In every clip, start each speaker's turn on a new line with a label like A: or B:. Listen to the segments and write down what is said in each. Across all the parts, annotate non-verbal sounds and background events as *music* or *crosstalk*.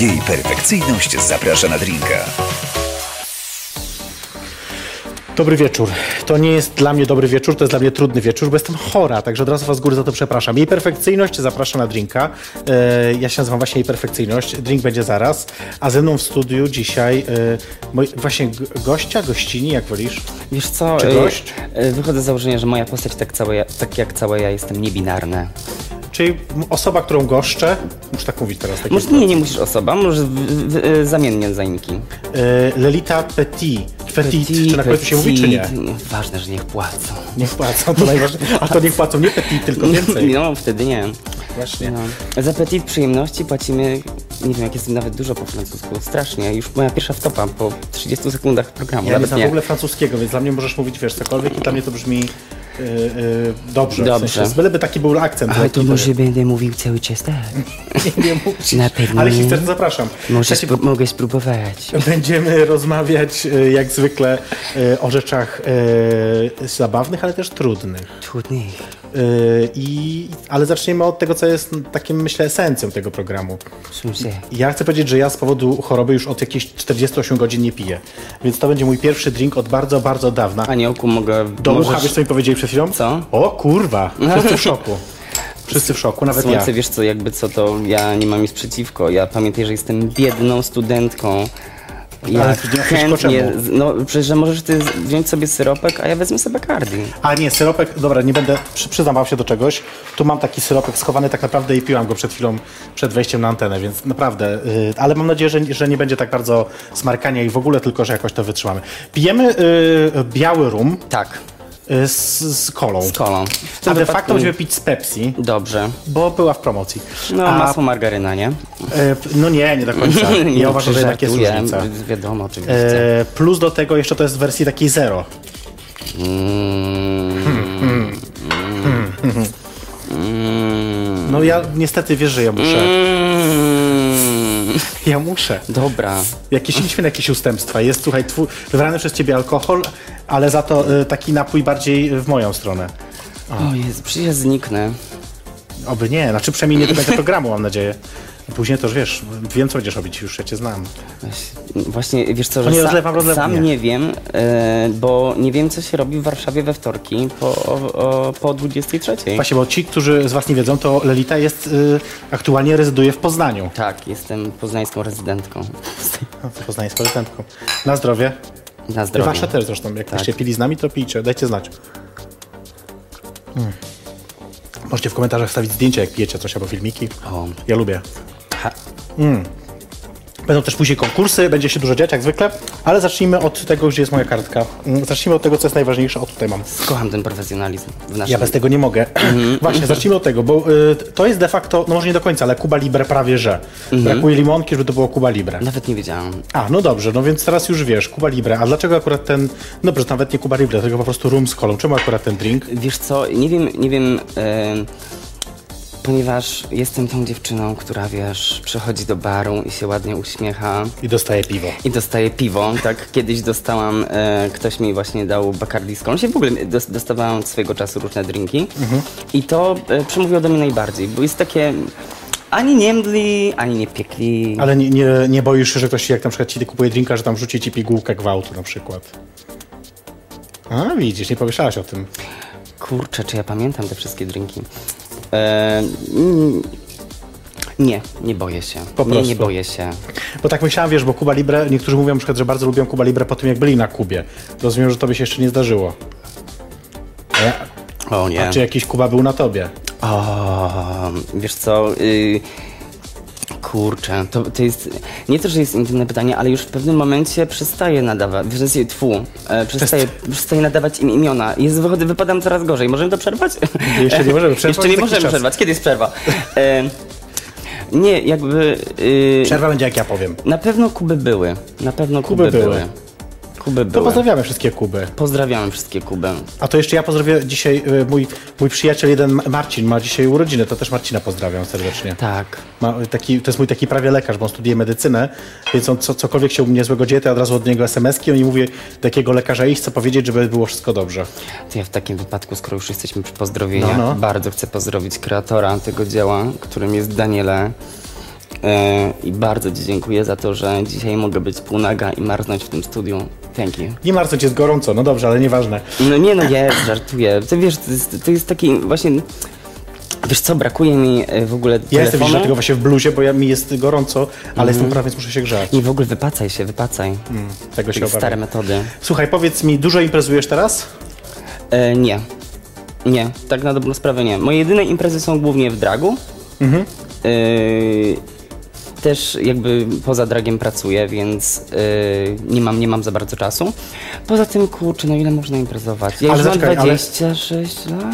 A: Jej perfekcyjność zaprasza na drinka.
B: Dobry wieczór. To nie jest dla mnie dobry wieczór, to jest dla mnie trudny wieczór, bo jestem chora, także od razu Was z góry za to przepraszam. Jej perfekcyjność zaprasza na drinka. E, ja się nazywam właśnie Jej perfekcyjność. Drink będzie zaraz. A ze mną w studiu dzisiaj e, moi, właśnie g- gościa, gościni, jak wolisz.
C: Wiesz co,
B: Czy
C: y,
B: gość?
C: y, wychodzę z założenia, że moja postać tak, całe ja, tak jak całe ja jestem niebinarna.
B: Czyli m- osoba, którą goszczę. Muszę tak mówić teraz. Tak
C: Może
B: jest.
C: nie, nie musisz osoba, może w, w, y, zamiennie zaimki.
B: E, Lelita Petit. Petit. Czy na końcu się mówi, czy nie?
C: petit. Ważne, że niech płacą.
B: Niech płacą, to najważniejsze. A to niech płacą nie Petit, tylko więcej.
C: *laughs* No, wtedy nie.
B: Właśnie.
C: No. Za petit przyjemności płacimy, nie wiem jak jest nawet dużo po francusku, strasznie. Już moja pierwsza wtopa po 30 sekundach programu,
B: Ja nie
C: nawet
B: znam
C: nie.
B: w ogóle francuskiego, więc dla mnie możesz mówić, wiesz, cokolwiek i dla mnie to brzmi yy, yy, dobrze.
C: Dobrze.
B: W sensie, byleby taki był akcent.
C: Ale
B: lekki,
C: to może
B: nie-
C: będę mówił cały
B: *laughs*
C: czas tak.
B: nie musisz.
C: Na pewno
B: Ale jeśli
C: nie.
B: chcesz, to zapraszam.
C: Może
B: Słuchajcie,
C: spró- mogę spróbować.
B: Będziemy rozmawiać yy, jak zwykle yy, o rzeczach yy, zabawnych, ale też trudnych.
C: Trudniej.
B: Yy, I, ale zaczniemy od tego, co jest takim, myślę, esencją tego programu.
C: Sumse.
B: Ja chcę powiedzieć, że ja z powodu choroby już od jakichś 48 godzin nie piję. Więc to będzie mój pierwszy drink od bardzo, bardzo dawna.
C: Aniołku, mogę...
B: Do ucha,
C: możesz-
B: wiesz co mi powiedzieli przed chwilą?
C: Co?
B: O kurwa,
C: *laughs*
B: wszyscy w szoku. Wszyscy w szoku, nawet
C: Słońce,
B: ja.
C: wiesz co, jakby co, to ja nie mam nic przeciwko. Ja pamiętaj, że jestem biedną studentką. Ja
B: Ale to nie ma przeciwko
C: chętnie,
B: czemu?
C: z- no przecież że możesz ty z- wziąć sobie syropek, a ja wezmę sobie Bacardi.
B: A nie, syropek, dobra, nie będę, przy, przyznam wam się do czegoś. Tu mam taki syropek schowany tak naprawdę i piłam go przed chwilą, przed wejściem na antenę, więc naprawdę, y, ale mam nadzieję, że, że nie będzie tak bardzo smarkania i w ogóle, tylko że jakoś to wytrzymamy. Pijemy y, biały rum
C: Tak,
B: y, z, z kolą.
C: z kolą.
B: A de
C: wypadku-
B: facto będziemy pić z Pepsi,
C: Dobrze.
B: bo była w promocji.
C: No,
B: A,
C: masło margaryna, nie?
B: y, no nie, nie do
C: *laughs*
B: końca. Ja uważam, że jednak jest
C: Żartuję.
B: różnica.
C: Wiadomo, oczywiście.
B: E, plus do tego jeszcze to jest w wersji takiej zero.
C: Mm.
B: Hmm. No ja niestety wiesz, że ja muszę.
C: Mm,
B: Ja muszę.
C: dobra.
B: Jakieś idźmy na jakieś ustępstwa. Jest słuchaj, twu, wybrany przez ciebie alkohol, ale za to e, taki napój bardziej w moją stronę.
C: O Jezu, przecież ja zniknę.
B: Oby nie, znaczy przynajmniej nie do końca programu mam nadzieję. Później to już wiesz, wiem co będziesz robić, już ja cię znam.
C: Właśnie, wiesz co,
B: To
C: że
B: nie
C: sa-
B: rozlewam, rozlewam, nie.
C: sam nie wiem, e, bo nie wiem, co się robi w Warszawie we wtorki po, o, o, po 23.
B: Właśnie, bo ci, którzy z was nie wiedzą, to Lelita jest y, aktualnie rezyduje w Poznaniu.
C: Tak, jestem poznańską rezydentką. *laughs*
B: Poznań z prezydentką. Na zdrowie.
C: Na zdrowie.
B: Wasza też zresztą. Jak
C: Tak.
B: byście pili z nami, to pijcie, dajcie znać. Mm. Możecie w komentarzach wstawić zdjęcia, jak pijecie coś albo filmiki.
C: O.
B: Ja lubię.
C: Ha,
B: Będą też później konkursy, będzie się dużo dziać, jak zwykle. Ale zacznijmy od tego, gdzie jest moja kartka. Mm, Zacznijmy od tego, co jest najważniejsze. O, tutaj mam.
C: kocham ten profesjonalizm w naszym...
B: Ja bez tego nie mogę.
C: Mhm.
B: *clears throat* Właśnie, zacznijmy od tego, bo y, to jest de facto, no może nie do końca, ale Kuba Libre prawie że.
C: Mhm.
B: Brakuje limonki, żeby to było Kuba Libre.
C: Nawet nie wiedziałam.
B: A, no dobrze, no więc teraz już wiesz, Kuba Libre. A dlaczego akurat ten, no dobrze, to nawet nie Kuba Libre, tylko po prostu rum z kolą. Czemu akurat ten drink?
C: Wiesz co, nie wiem, nie wiem, e, ponieważ jestem tą dziewczyną, która, wiesz, przychodzi do baru i się ładnie uśmiecha.
B: I dostaje piwo.
C: I dostaję piwo, tak? Kiedyś dostałam, e, ktoś mi właśnie dał Bacardi z kolą. Się w ogóle dos- dostawałam od swojego czasu różne drinki.
B: Mhm.
C: I to e, przemówiło do mnie najbardziej, bo jest takie ani nie mdli, ani nie piekli.
B: Ale nie, nie, nie boisz się, że ktoś ci, jak na przykład ci kupuje drinka, że tam rzuci ci pigułkę gwałtu na przykład. A, widzisz, nie pomyślałaś o tym.
C: Kurczę, czy ja pamiętam te wszystkie drinki? E, mm, nie, nie boję się.
B: Po
C: nie, nie
B: prostu.
C: boję się.
B: Bo tak myślałam, wiesz, bo Kuba Libre, niektórzy mówią na przykład, że bardzo lubią Kuba Libre po tym, jak byli na Kubie. Rozumiem, że tobie się jeszcze nie zdarzyło.
C: O nie.
B: A czy jakiś Kuba był na tobie?
C: O, wiesz co, y, kurczę, to, to jest, nie to, że jest intymne pytanie, ale już w pewnym momencie przestaję nadawać, w sensie tfu, e, przestaję, przestaję nadawać im imiona. Jest, wychodzę, wypadam coraz gorzej. Możemy to przerwać?
B: *laughs* Jeszcze nie możemy przerwać,
C: Jeszcze nie
B: taki
C: możemy
B: czas.
C: przerwać. Kiedy jest przerwa? E, nie, jakby... y,
B: Przerwa będzie, jak ja powiem.
C: na pewno Kuby były. Na pewno Kuby,
B: były.
C: były. Kuby
B: To
C: były.
B: pozdrawiamy wszystkie Kuby.
C: Pozdrawiamy wszystkie Kuby.
B: A to jeszcze ja pozdrawiam dzisiaj, y, mój, mój przyjaciel jeden, Ma- Marcin, ma dzisiaj urodziny, to też Marcina pozdrawiam serdecznie.
C: Tak.
B: Ma taki, to jest mój taki prawie lekarz, bo on studiuje medycynę, więc on co, cokolwiek się u mnie złego dzieje, to ja od razu od niego SMS-ki, on mi mówi, do jakiego lekarza iść, co powiedzieć, żeby było wszystko dobrze.
C: To ja w takim wypadku, skoro już jesteśmy przy pozdrowieniach,
B: No, no.
C: bardzo chcę pozdrowić kreatora tego dzieła, którym jest Daniele. e, i bardzo Ci dziękuję za to, że dzisiaj mogę być półnaga i marznąć w tym studiu. Thank you.
B: Nie martw się, jest gorąco, no dobrze, ale nieważne.
C: No nie no,
B: *laughs*
C: jest, żartuję. Ty wiesz, to jest, to jest taki właśnie... Wiesz co, brakuje mi e, w ogóle
B: Ja jestem
C: telefonu.
B: wiesz, dlatego właśnie w bluzie, bo ja, mi jest gorąco, ale
C: Mhm.
B: jestem prawie, więc muszę się grzać.
C: I w ogóle wypacaj się, wypacaj.
B: Tego Mm, się
C: Takie
B: obawiam.
C: stare metody.
B: Słuchaj, powiedz mi, dużo imprezujesz teraz?
C: E, nie. Nie, tak na dobrą sprawę nie. Moje jedyne imprezy są głównie w dragu.
B: Mhm.
C: E, też jakby poza dragiem pracuję, więc e, nie, mam, nie mam za bardzo czasu. Poza tym, kurczę, no ile można imprezować? Ja
B: Ale
C: już mam
B: zaczekaj, ale-
C: 26 lat.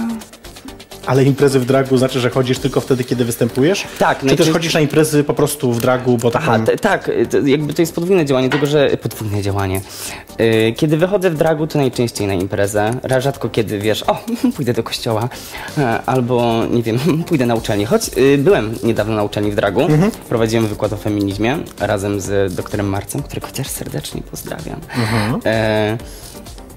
B: Ale imprezy w dragu znaczy, że chodzisz tylko wtedy, kiedy występujesz?
C: Tak,
B: Czy też
C: najczęściej-
B: chodzisz na imprezy po prostu w dragu, bo
C: Aha,
B: tam...
C: te- tak, y, to jakby to jest podwójne działanie, tylko że podwójne działanie. Y, Kiedy wychodzę w dragu, to najczęściej na imprezę. Ra- Rzadko kiedy wiesz, o, *laughs* pójdę do kościoła, e, albo nie wiem, *laughs* pójdę na uczelnię. Choć y, byłem niedawno na uczelni w dragu, prowadziłem wykład o feminizmie razem z doktorem Marcem, którego też serdecznie pozdrawiam. E,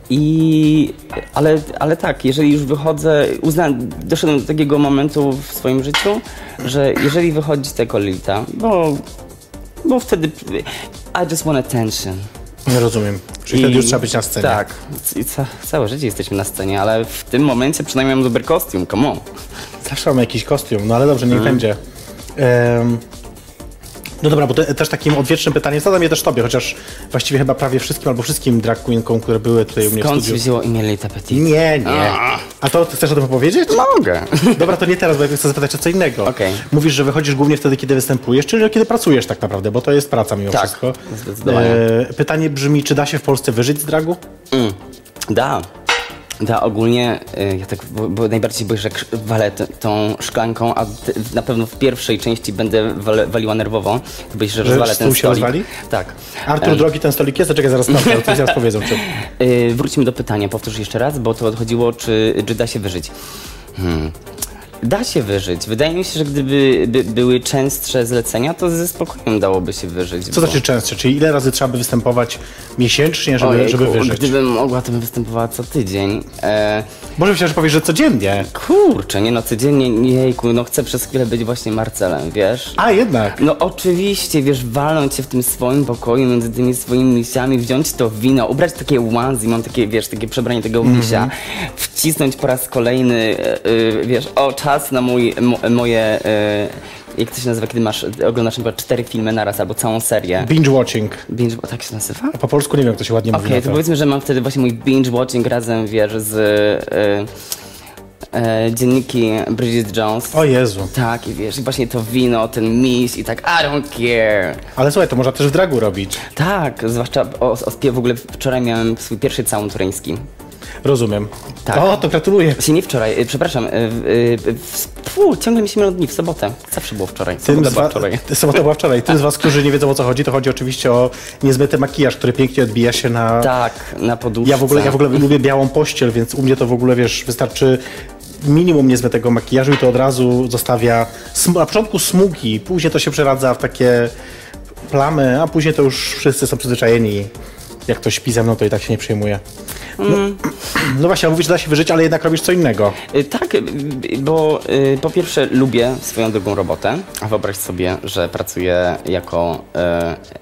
C: i, ale, ale tak, jeżeli już wychodzę, uznałem, doszedłem do takiego momentu w swoim życiu, że jeżeli wychodzi tego Lita, bo, bo No wtedy I just want attention.
B: Nie rozumiem. Czyli
C: I-
B: wtedy już trzeba być na scenie.
C: Tak. I ca- całe życie jesteśmy na scenie, ale w tym momencie przynajmniej mam dobry kostium, come on.
B: Zawsze mam jakiś kostium, no ale dobrze, niech
C: Mhm.
B: będzie. Em, no dobra, bo te, też takim odwiecznym pytaniem zadam je też tobie, chociaż właściwie chyba prawie wszystkim albo wszystkim drag queenkom, które były tutaj u mnie w
C: Skąd się
B: studiu.
C: wzięło imię Lita Petit?
B: Nie, nie.
C: A.
B: A to ty chcesz o tym opowiedzieć?
C: Mogę. *laughs*
B: Dobra, to nie teraz, bo ja chcę zapytać o co innego.
C: Okej.
B: Mówisz, że wychodzisz głównie wtedy, kiedy występujesz, czyli kiedy pracujesz tak naprawdę, bo to jest praca mimo
C: Tak,
B: wszystko.
C: zdecydowanie.
B: E, pytanie brzmi, czy da się w Polsce wyżyć z dragu?
C: Mm. Da. Da, ogólnie y, ja tak, bo, bo najbardziej boję, że krz- walę t- tą szklanką, a ty, na pewno w pierwszej części będę wale, waliła nerwowo. To boję się, że rozwalę
B: stół
C: ten
B: się
C: stolik.
B: rozwali?
C: Tak.
B: Artur,
C: Em,
B: drogi, ten stolik jest? Czekaj, zaraz sprawdzę, ale coś zaraz powiedzą. Czy...
C: y, wróćmy do pytania, powtórz jeszcze raz, bo to odchodziło, czy, czy da się wyżyć. Hmm. Da się wyżyć. Wydaje mi się, że gdyby by, były częstsze zlecenia, to ze spokojem dałoby się wyżyć.
B: Co znaczy częstsze? Czyli ile razy trzeba by występować miesięcznie, żeby,
C: Ojejku,
B: żeby wyżyć?
C: Gdybym mogła, to bym występowała co tydzień. E,
B: Może myślałem, że powiesz, że codziennie.
C: Kurczę, nie no, codziennie, nie, jejku, no chcę przez chwilę być właśnie Marcelem, wiesz?
B: A jednak.
C: No oczywiście, wiesz, walnąć się w tym swoim pokoju między tymi swoimi misiami, wziąć to wino, ubrać takie onesie, mam takie, wiesz, takie przebranie tego misia, wcisnąć po raz kolejny, e, e, wiesz, o, czas na mój, mo, moje, e, jak to się nazywa, kiedy masz, oglądasz na przykład cztery filmy naraz albo całą serię.
B: Binge watching.
C: Binge, o, tak się nazywa?
B: Po polsku nie wiem, jak to się ładnie
C: Okej,
B: mówi. na
C: to
B: to.
C: powiedzmy, że mam wtedy właśnie mój binge watching razem, wiesz, z y, y, y, dzienniki Bridget Jones.
B: O Jezu.
C: Tak, i wiesz, i właśnie to wino, ten miś i tak, I don't care.
B: Ale słuchaj, to można też w dragu robić.
C: Tak, zwłaszcza o, o spie- w ogóle wczoraj miałem swój pierwszy całun turyński.
B: Rozumiem.
C: Tak.
B: O, to gratuluję.
C: Właśnie nie wczoraj, y, przepraszam, y, y, y, w, fu, ciągle mi się mylą dni, w sobotę. Zawsze było wczoraj,
B: Tym
C: sobota
B: z
C: była
B: wa-
C: wczoraj.
B: Sobota była wczoraj. Tym z was, którzy nie wiedzą o co chodzi, to chodzi oczywiście o niezbyty makijaż, który pięknie odbija się na...
C: Tak, na poduszce.
B: Ja w ogóle, ja w ogóle lubię białą pościel, więc u mnie to w ogóle, wiesz, wystarczy minimum niezmytego makijażu i to od razu zostawia sm- na początku smugi, później to się przeradza w takie plamy, a później to już wszyscy są przyzwyczajeni. Jak ktoś śpi ze mną, to i tak się nie przejmuje. No, no właśnie, a mówisz, że da się wyżyć, ale jednak robisz co innego.
C: Y, Tak, y, y, bo y, po pierwsze lubię swoją drugą robotę, a wyobraź sobie, że pracuję jako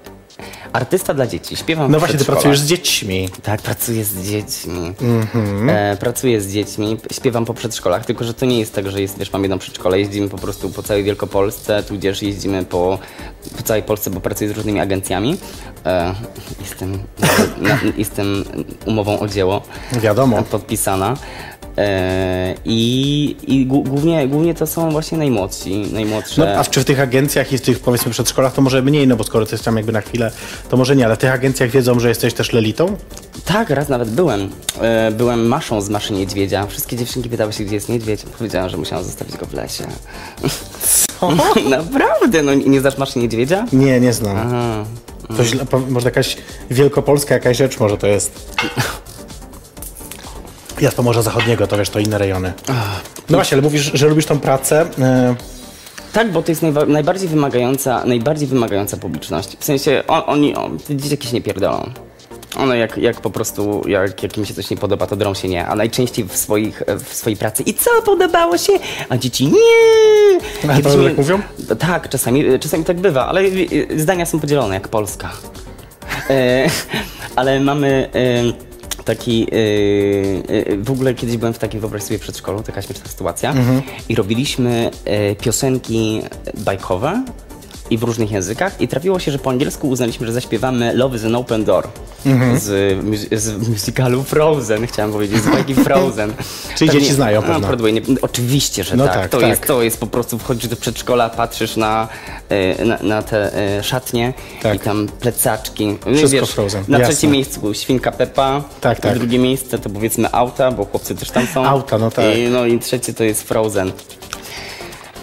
C: y, artysta dla dzieci. Śpiewam
B: No
C: w
B: właśnie, ty
C: przedszkolach.
B: pracujesz z dziećmi.
C: Tak, pracuję z dziećmi.
B: Mhm.
C: E, pracuję z dziećmi, śpiewam po przedszkolach, tylko że to nie jest tak, że jest, wiesz, mam jedną przedszkole, jeździmy po prostu po całej Wielkopolsce, tudzież jeździmy po, po całej Polsce, bo pracuję z różnymi agencjami. E, jestem, na, jestem umową o dzieło
B: Wiadomo.
C: podpisana. E, I i gu- głównie, głównie to są właśnie najmłodsi, najmłodsze.
B: No, a czy w tych agencjach i w tych, powiedzmy, przedszkolach to może mniej, no bo skoro ty jest tam jakby na chwilę, to może nie, ale w tych agencjach wiedzą, że jesteś też lelitą?
C: Tak, raz nawet byłem. E, Byłem maszą z maszy niedźwiedzia. Wszystkie dziewczynki pytały się, gdzie jest niedźwiedź. Powiedziałam, że musiałam zostawić go w lesie.
B: Co?
C: *laughs* Naprawdę, no nie nie znasz maszy niedźwiedzia?
B: Nie, nie znam. To źle, po- może jakaś wielkopolska jakaś rzecz może to jest. Ja z Pomorza Zachodniego, to wiesz, to inne rejony. No właśnie, ale mówisz, że lubisz tą pracę. e,
C: Tak, bo to jest najwa- najbardziej wymagająca, najbardziej wymagająca publiczność. W sensie on, oni, on, te dzieciaki się nie pierdolą. One jak, jak po prostu, jak, jak im się coś nie podoba, to drą się nie, a najczęściej w, swoich, w swojej pracy i co, podobało się? A dzieci nie!
B: A
C: Kiedyś
B: to
C: my-
B: tak mówią?
C: Tak, czasami, czasami tak bywa, ale y, y, zdania są podzielone, jak Polska. E, ale mamy e, taki. e, e, w ogóle kiedyś byłem w takim, wyobraź sobie, przedszkolu, taka śmieszna sytuacja.
B: Mhm.
C: I robiliśmy e, piosenki bajkowe i w różnych językach. I trafiło się, że po angielsku uznaliśmy, że zaśpiewamy Love is an Open Door
B: Mhm.
C: z, mu- z musicalu Frozen, chciałem powiedzieć, z bajki Frozen.
B: Czyli dzieci znają
C: no,
B: pewno.
C: Broadway, nie, oczywiście, że
B: No
C: tak.
B: tak,
C: to,
B: tak.
C: Jest, to jest po prostu, wchodzisz do przedszkola, patrzysz na, e, na, na te e, szatnie
B: Tak.
C: i tam plecaczki. No i
B: Wszystko Frozen,
C: Na
B: jasne.
C: trzecim miejscu Świnka Peppa,
B: Tak, tak.
C: drugie miejsce to powiedzmy auta, bo chłopcy też tam są.
B: Auta, no tak.
C: I, no i trzecie to jest Frozen.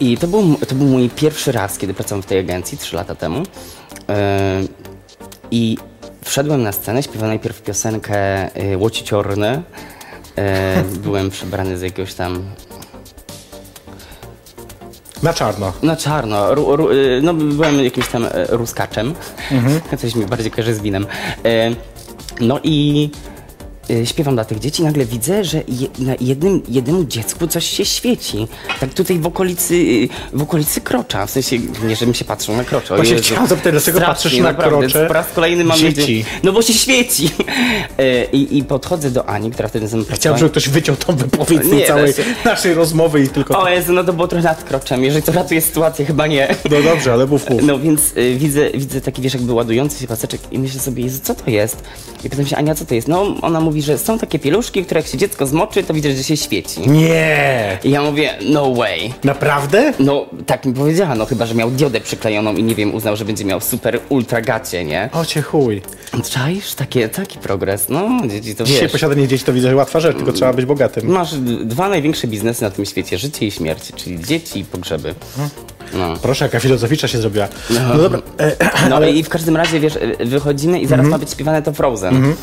C: I to był, to był mój pierwszy raz, kiedy pracowałem w tej agencji, 3 lata temu. E, I wszedłem na scenę, śpiewałem najpierw piosenkę e,
B: *laughs*
C: Łociciorny. E, byłem przebrany z jakiegoś tam
B: Na czarno.
C: Na czarno. Ru, ru, y, no, byłem jakimś tam e, ruskaczem.
B: Mhm.
C: *laughs* Coś mi bardziej kojarzy z winem. E, no i e, śpiewam dla tych dzieci. Nagle widzę, że je, na jednym, jednemu dziecku coś się świeci. Tak tutaj w okolicy, y, w okolicy krocza. W sensie, nie żebym się patrzył na krocze. O
B: Właśnie
C: Jezu.
B: chciałam zapytać, dlaczego
C: Strasznie,
B: patrzysz na
C: naprawdę.
B: krocze
C: Po raz kolejny mam
B: dzieci?
C: nadzieję- No bo się świeci. E, I, I podchodzę do Ani, która wtedy ze mną pracowała.
B: Chciałbym, żeby ktoś wyciął tą wypowiedź
C: Tak. Nie,
B: z całej
C: da się.
B: naszej rozmowy i tylko... tak,
C: O Jezu, no to było trochę nad kroczem. Jeżeli to ratuje sytuację, chyba nie.
B: No dobrze, ale mów, mów.
C: No więc y, widzę, widzę taki wiesz, jakby ładujący się paseczek i myślę sobie, Jezu, co to jest? I pytam się, Ania, co to jest? No, ona mówi, że są takie pieluszki, które jak się dziecko zmoczy, to widać, że się świeci.
B: Nie!
C: I ja mówię, no way.
B: Naprawdę?
C: No, tak mi powiedziała, no chyba, że miał diodę przyklejoną i nie wiem, uznał, że będzie miał super ultra gacie, nie?
B: O cię chuj.
C: Czaisz? Takie, taki progres, no, dzieci to
B: Dzisiaj
C: wiesz. No.
B: posiadanie dzieci to widzę że łatwa rzecz, tylko trzeba być bogatym.
C: Masz d- dwa największe biznesy na tym świecie, życie i śmierć, czyli dzieci i pogrzeby. No.
B: Proszę, jaka filozoficzna się zrobiła. No dobra, e, *clears throat*
C: No
B: ale Mhm.
C: i w każdym razie, wiesz, y, wychodzimy i zaraz ma być śpiewane to Frozen.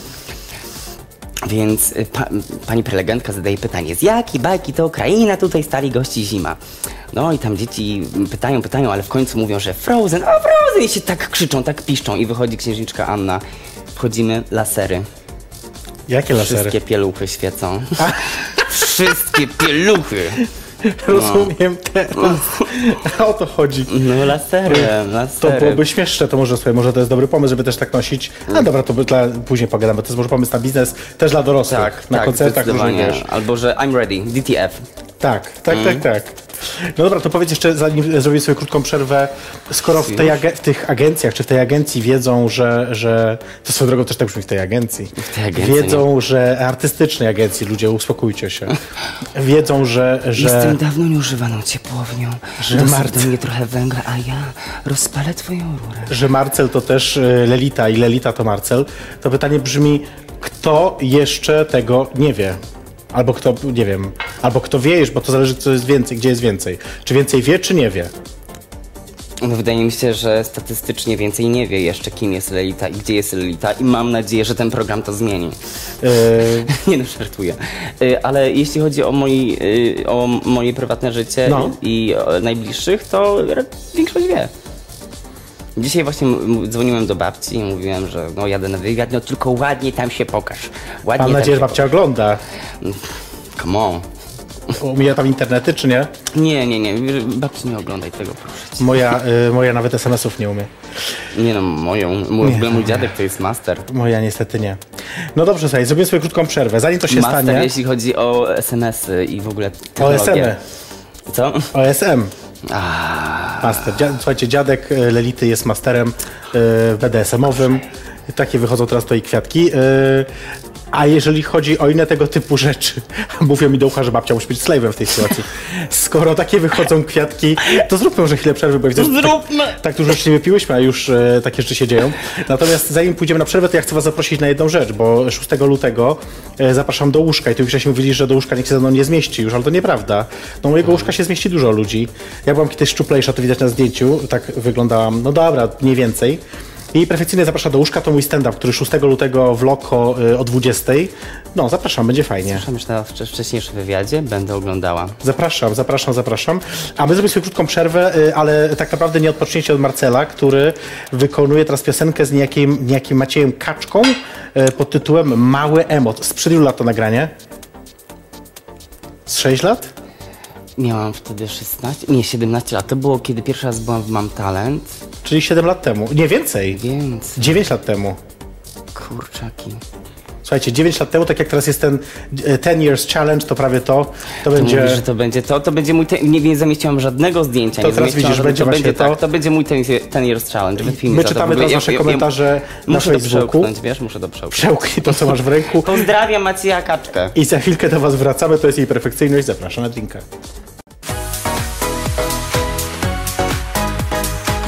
C: Więc y, pa, pani prelegentka zadaje pytanie, z jakiej bajki to Ukraina, tutaj stali gości zima. No i tam dzieci pytają, pytają, ale w końcu mówią, że Frozen, o Frozen! I się tak krzyczą, tak piszczą i wychodzi księżniczka Anna. Wchodzimy, lasery.
B: jakie lasery?
C: Wszystkie pieluchy świecą. Wszystkie pieluchy!
B: *laughs* Rozumiem teraz. O to chodzi.
C: No lasery,
B: To
C: lasery.
B: byłoby śmieszne, to może słuchaj, może to jest dobry pomysł, żeby też tak nosić. A
C: Mm.
B: dobra, to by dla, później pogadamy. To jest może pomysł na biznes też dla dorosłych.
C: Tak,
B: na
C: tak,
B: koncertach różnych,
C: zdecydowanie. Mm.
B: wiesz.
C: Albo, że I'm ready, DTF.
B: Tak, tak, tak, tak. No dobra, to powiedz jeszcze, zanim zrobię sobie krótką przerwę, skoro w, tej age- w tych agencjach, czy w tej agencji wiedzą, że, że to swoją drogą też tak brzmi w tej agencji,
C: tej agencji,
B: wiedzą, że artystycznej agencji, ludzie, uspokójcie się, wiedzą, że, że
C: Jestem dawno nieużywaną ciepłownią.
B: Że
C: Dosyp
B: Marta-
C: do mnie trochę węgla, a ja rozpalę twoją rurę.
B: że Marcel to też y, Lelita i Lelita to Marcel, to pytanie brzmi, kto jeszcze tego nie wie? Albo kto, nie wiem, albo kto wie już, bo to zależy, co jest więcej, gdzie jest więcej. Czy więcej wie, czy nie wie?
C: No, wydaje mi się, że statystycznie więcej nie wie jeszcze, kim jest Lelita i gdzie jest Lelita i mam nadzieję, że ten program to zmieni. *laughs*
B: Y,
C: nie no, żartuję. Y, Ale jeśli chodzi o, moi, y, o moje prywatne życie
B: No.
C: i, i o najbliższych, to ra- większość wie. Dzisiaj właśnie m- m- dzwoniłem do babci i mówiłem, że no jadę na wywiad, no tylko ładnie tam się pokaż. Ładnie
B: mam
C: tam
B: nadzieję, że
C: się
B: babcia ogląda.
C: pokaż. Come on.
B: Umija tam internety, czy nie?
C: Nie, nie, nie, babci nie oglądaj tego, proszę cię.
B: Moja, y, moja nawet SMS-ów nie umie.
C: Nie no, moją, mój, w ogóle mój dziadek to jest master.
B: Moja niestety nie. No dobrze, słuchaj, zrobimy sobie krótką przerwę. Zanim to się
C: Master,
B: stanie...
C: jeśli chodzi o SMS-y i w ogóle
B: OSM-y.
C: technologię.
B: E.
C: Co?
B: OSM.
C: A,
B: Master. Dzia- Słuchajcie, dziadek y, Lelity jest masterem y, BDSM-owym. Takie wychodzą teraz tutaj kwiatki. Y, a jeżeli chodzi o inne tego typu rzeczy, *laughs* mówią mi do ucha, że babcia musi być slave'em w tej sytuacji. Skoro takie wychodzą kwiatki, to zróbmy może chwilę przerwy, bo widzę, że
C: Zróbmy!
B: Tak, tak dużo już nie wypiłyśmy, a już e, takie rzeczy się dzieją. Natomiast zanim pójdziemy na przerwę, to ja chcę was zaprosić na jedną rzecz, bo 6 lutego e, zapraszam do łóżka i tu już żeśmy mówili, że do łóżka nikt się ze mną nie zmieści już, ale to nieprawda. Do mojego łóżka się zmieści dużo ludzi. Ja byłam kiedyś szczuplejsza, to widać na zdjęciu, tak wyglądałam, no dobra, mniej więcej. Jej perfekcyjnie zaprasza do łóżka, to mój stand-up, który 6 lutego w Loko y, o 20. No, zapraszam, będzie fajnie.
C: Słyszałem już na wcze- wcześniejszym wywiadzie, będę oglądała.
B: Zapraszam, zapraszam, zapraszam. A my zrobimy sobie krótką przerwę, y, ale tak naprawdę nie odpoczniecie od Marcela, który wykonuje teraz piosenkę z niejakim, niejakim Maciejem Kaczką y, pod tytułem Mały Emot. Sprzed ilu lat to nagranie? Z 6 lat?
C: Miałam wtedy 16, nie 17 lat. To było kiedy pierwszy raz byłam w Mam Talent,
B: Czyli 7 lat temu. Nie więcej.
C: więc
B: 9 lat temu.
C: kurczaki.
B: Słuchajcie, 9 lat temu, tak jak teraz jest ten e, 10 Years Challenge, to prawie to, to
C: Ty
B: będzie...
C: mówisz, że to będzie to, to będzie mój, te- nie, nie zamieściłam żadnego zdjęcia.
B: To
C: nie
B: teraz
C: zamieściłam
B: widzisz,
C: żadnego-
B: będzie
C: to
B: właśnie
C: będzie
B: to.
C: Tak, to będzie mój ten, ten Year's Challenge. wypij mi
B: My
C: za to. W
B: czytamy
C: ogóle
B: teraz
C: ja-
B: nasze
C: ja- ja-
B: komentarze na
C: Muszę to
B: Facebooku.
C: przełknąć, wiesz, muszę to przełknąć.
B: Przełknij to, co masz w ręku
C: Pozdrawiam Macieja Kaczkę.
B: i za chwilkę do was wracamy. To jest jej perfekcyjność. Zapraszam na drinka.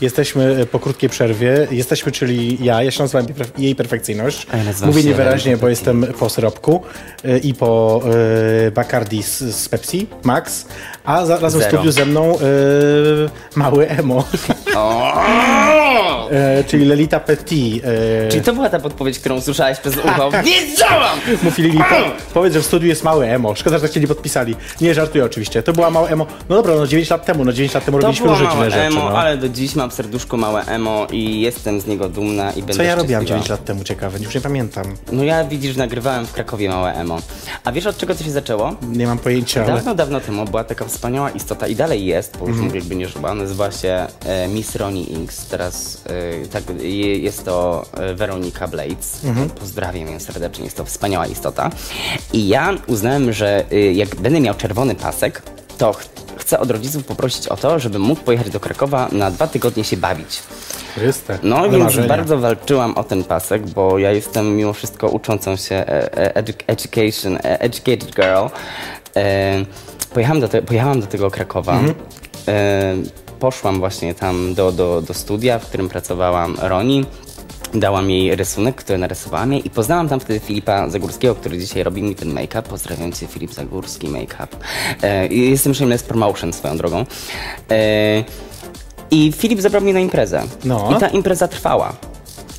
B: Jesteśmy e, po krótkiej przerwie. Jesteśmy, czyli ja, ja się nazywam jej perf- jej perfekcyjność.
C: A ja nazywam
B: Mówię
C: się
B: niewyraźnie,
C: Adam
B: bo jestem po syropku e, i po e, Bacardi z, z Pepsi, Max, a za, razem w
C: Zero.
B: studiu ze mną e, mały
C: *laughs*
B: Emo,
C: O!
B: e, czyli Lelita Petit. E,
C: Czyli to była ta podpowiedź, którą słyszałeś
B: Tak.
C: przez ucho. Wiedziałam!
B: Mówi Lili, po, powiedz, że w studiu jest małe emo. Szkoda, że tak się nie podpisali. Nie żartuję oczywiście. To była małe emo. No dobra, no 9 lat temu, no 9 lat temu
C: To
B: robiliśmy
C: było
B: różne dziwne
C: małe
B: rzeczy.
C: emo,
B: no.
C: ale do dziś mam w serduszku małe emo i jestem z niego dumna i będę
B: Co ja robiłam
C: szczęśliwa.
B: 9 lat temu, ciekawe, już nie pamiętam.
C: No ja widzisz, nagrywałem w Krakowie małe emo. A wiesz od czego to się zaczęło?
B: Nie mam pojęcia, ale
C: Dawno, dawno temu była taka wspaniała istota i dalej jest, bo już mm. jakby nie żyła, nazywa się e, Miss Ronnie Inks, teraz e, tak, je, jest to e, Weronika Blades, pozdrawiam ją serdecznie, jest to wspaniała istota. I ja uznałem, że e, jak będę miał czerwony pasek, to ch- chcę od rodziców poprosić o to, żebym mógł pojechać do Krakowa na dwa tygodnie się bawić.
B: Chryste.
C: No
B: ale
C: więc
B: marzenia.
C: bardzo walczyłam o ten pasek, bo ja jestem mimo wszystko uczącą się e, e, edu- education, e, educated girl. E, Pojechałam do, te, pojechałam do tego Krakowa. E, Poszłam właśnie tam do, do, do studia, w którym pracowałam Roni. Dałam jej rysunek, który narysowałam jej i poznałam tam wtedy Filipa Zagórskiego, który dzisiaj robi mi ten make-up. Pozdrawiam cię, Filip Zagórski, make-up. E, i jestem shameless promotion swoją drogą. E, i Filip zabrał mnie na imprezę.
B: No.
C: I ta impreza trwała.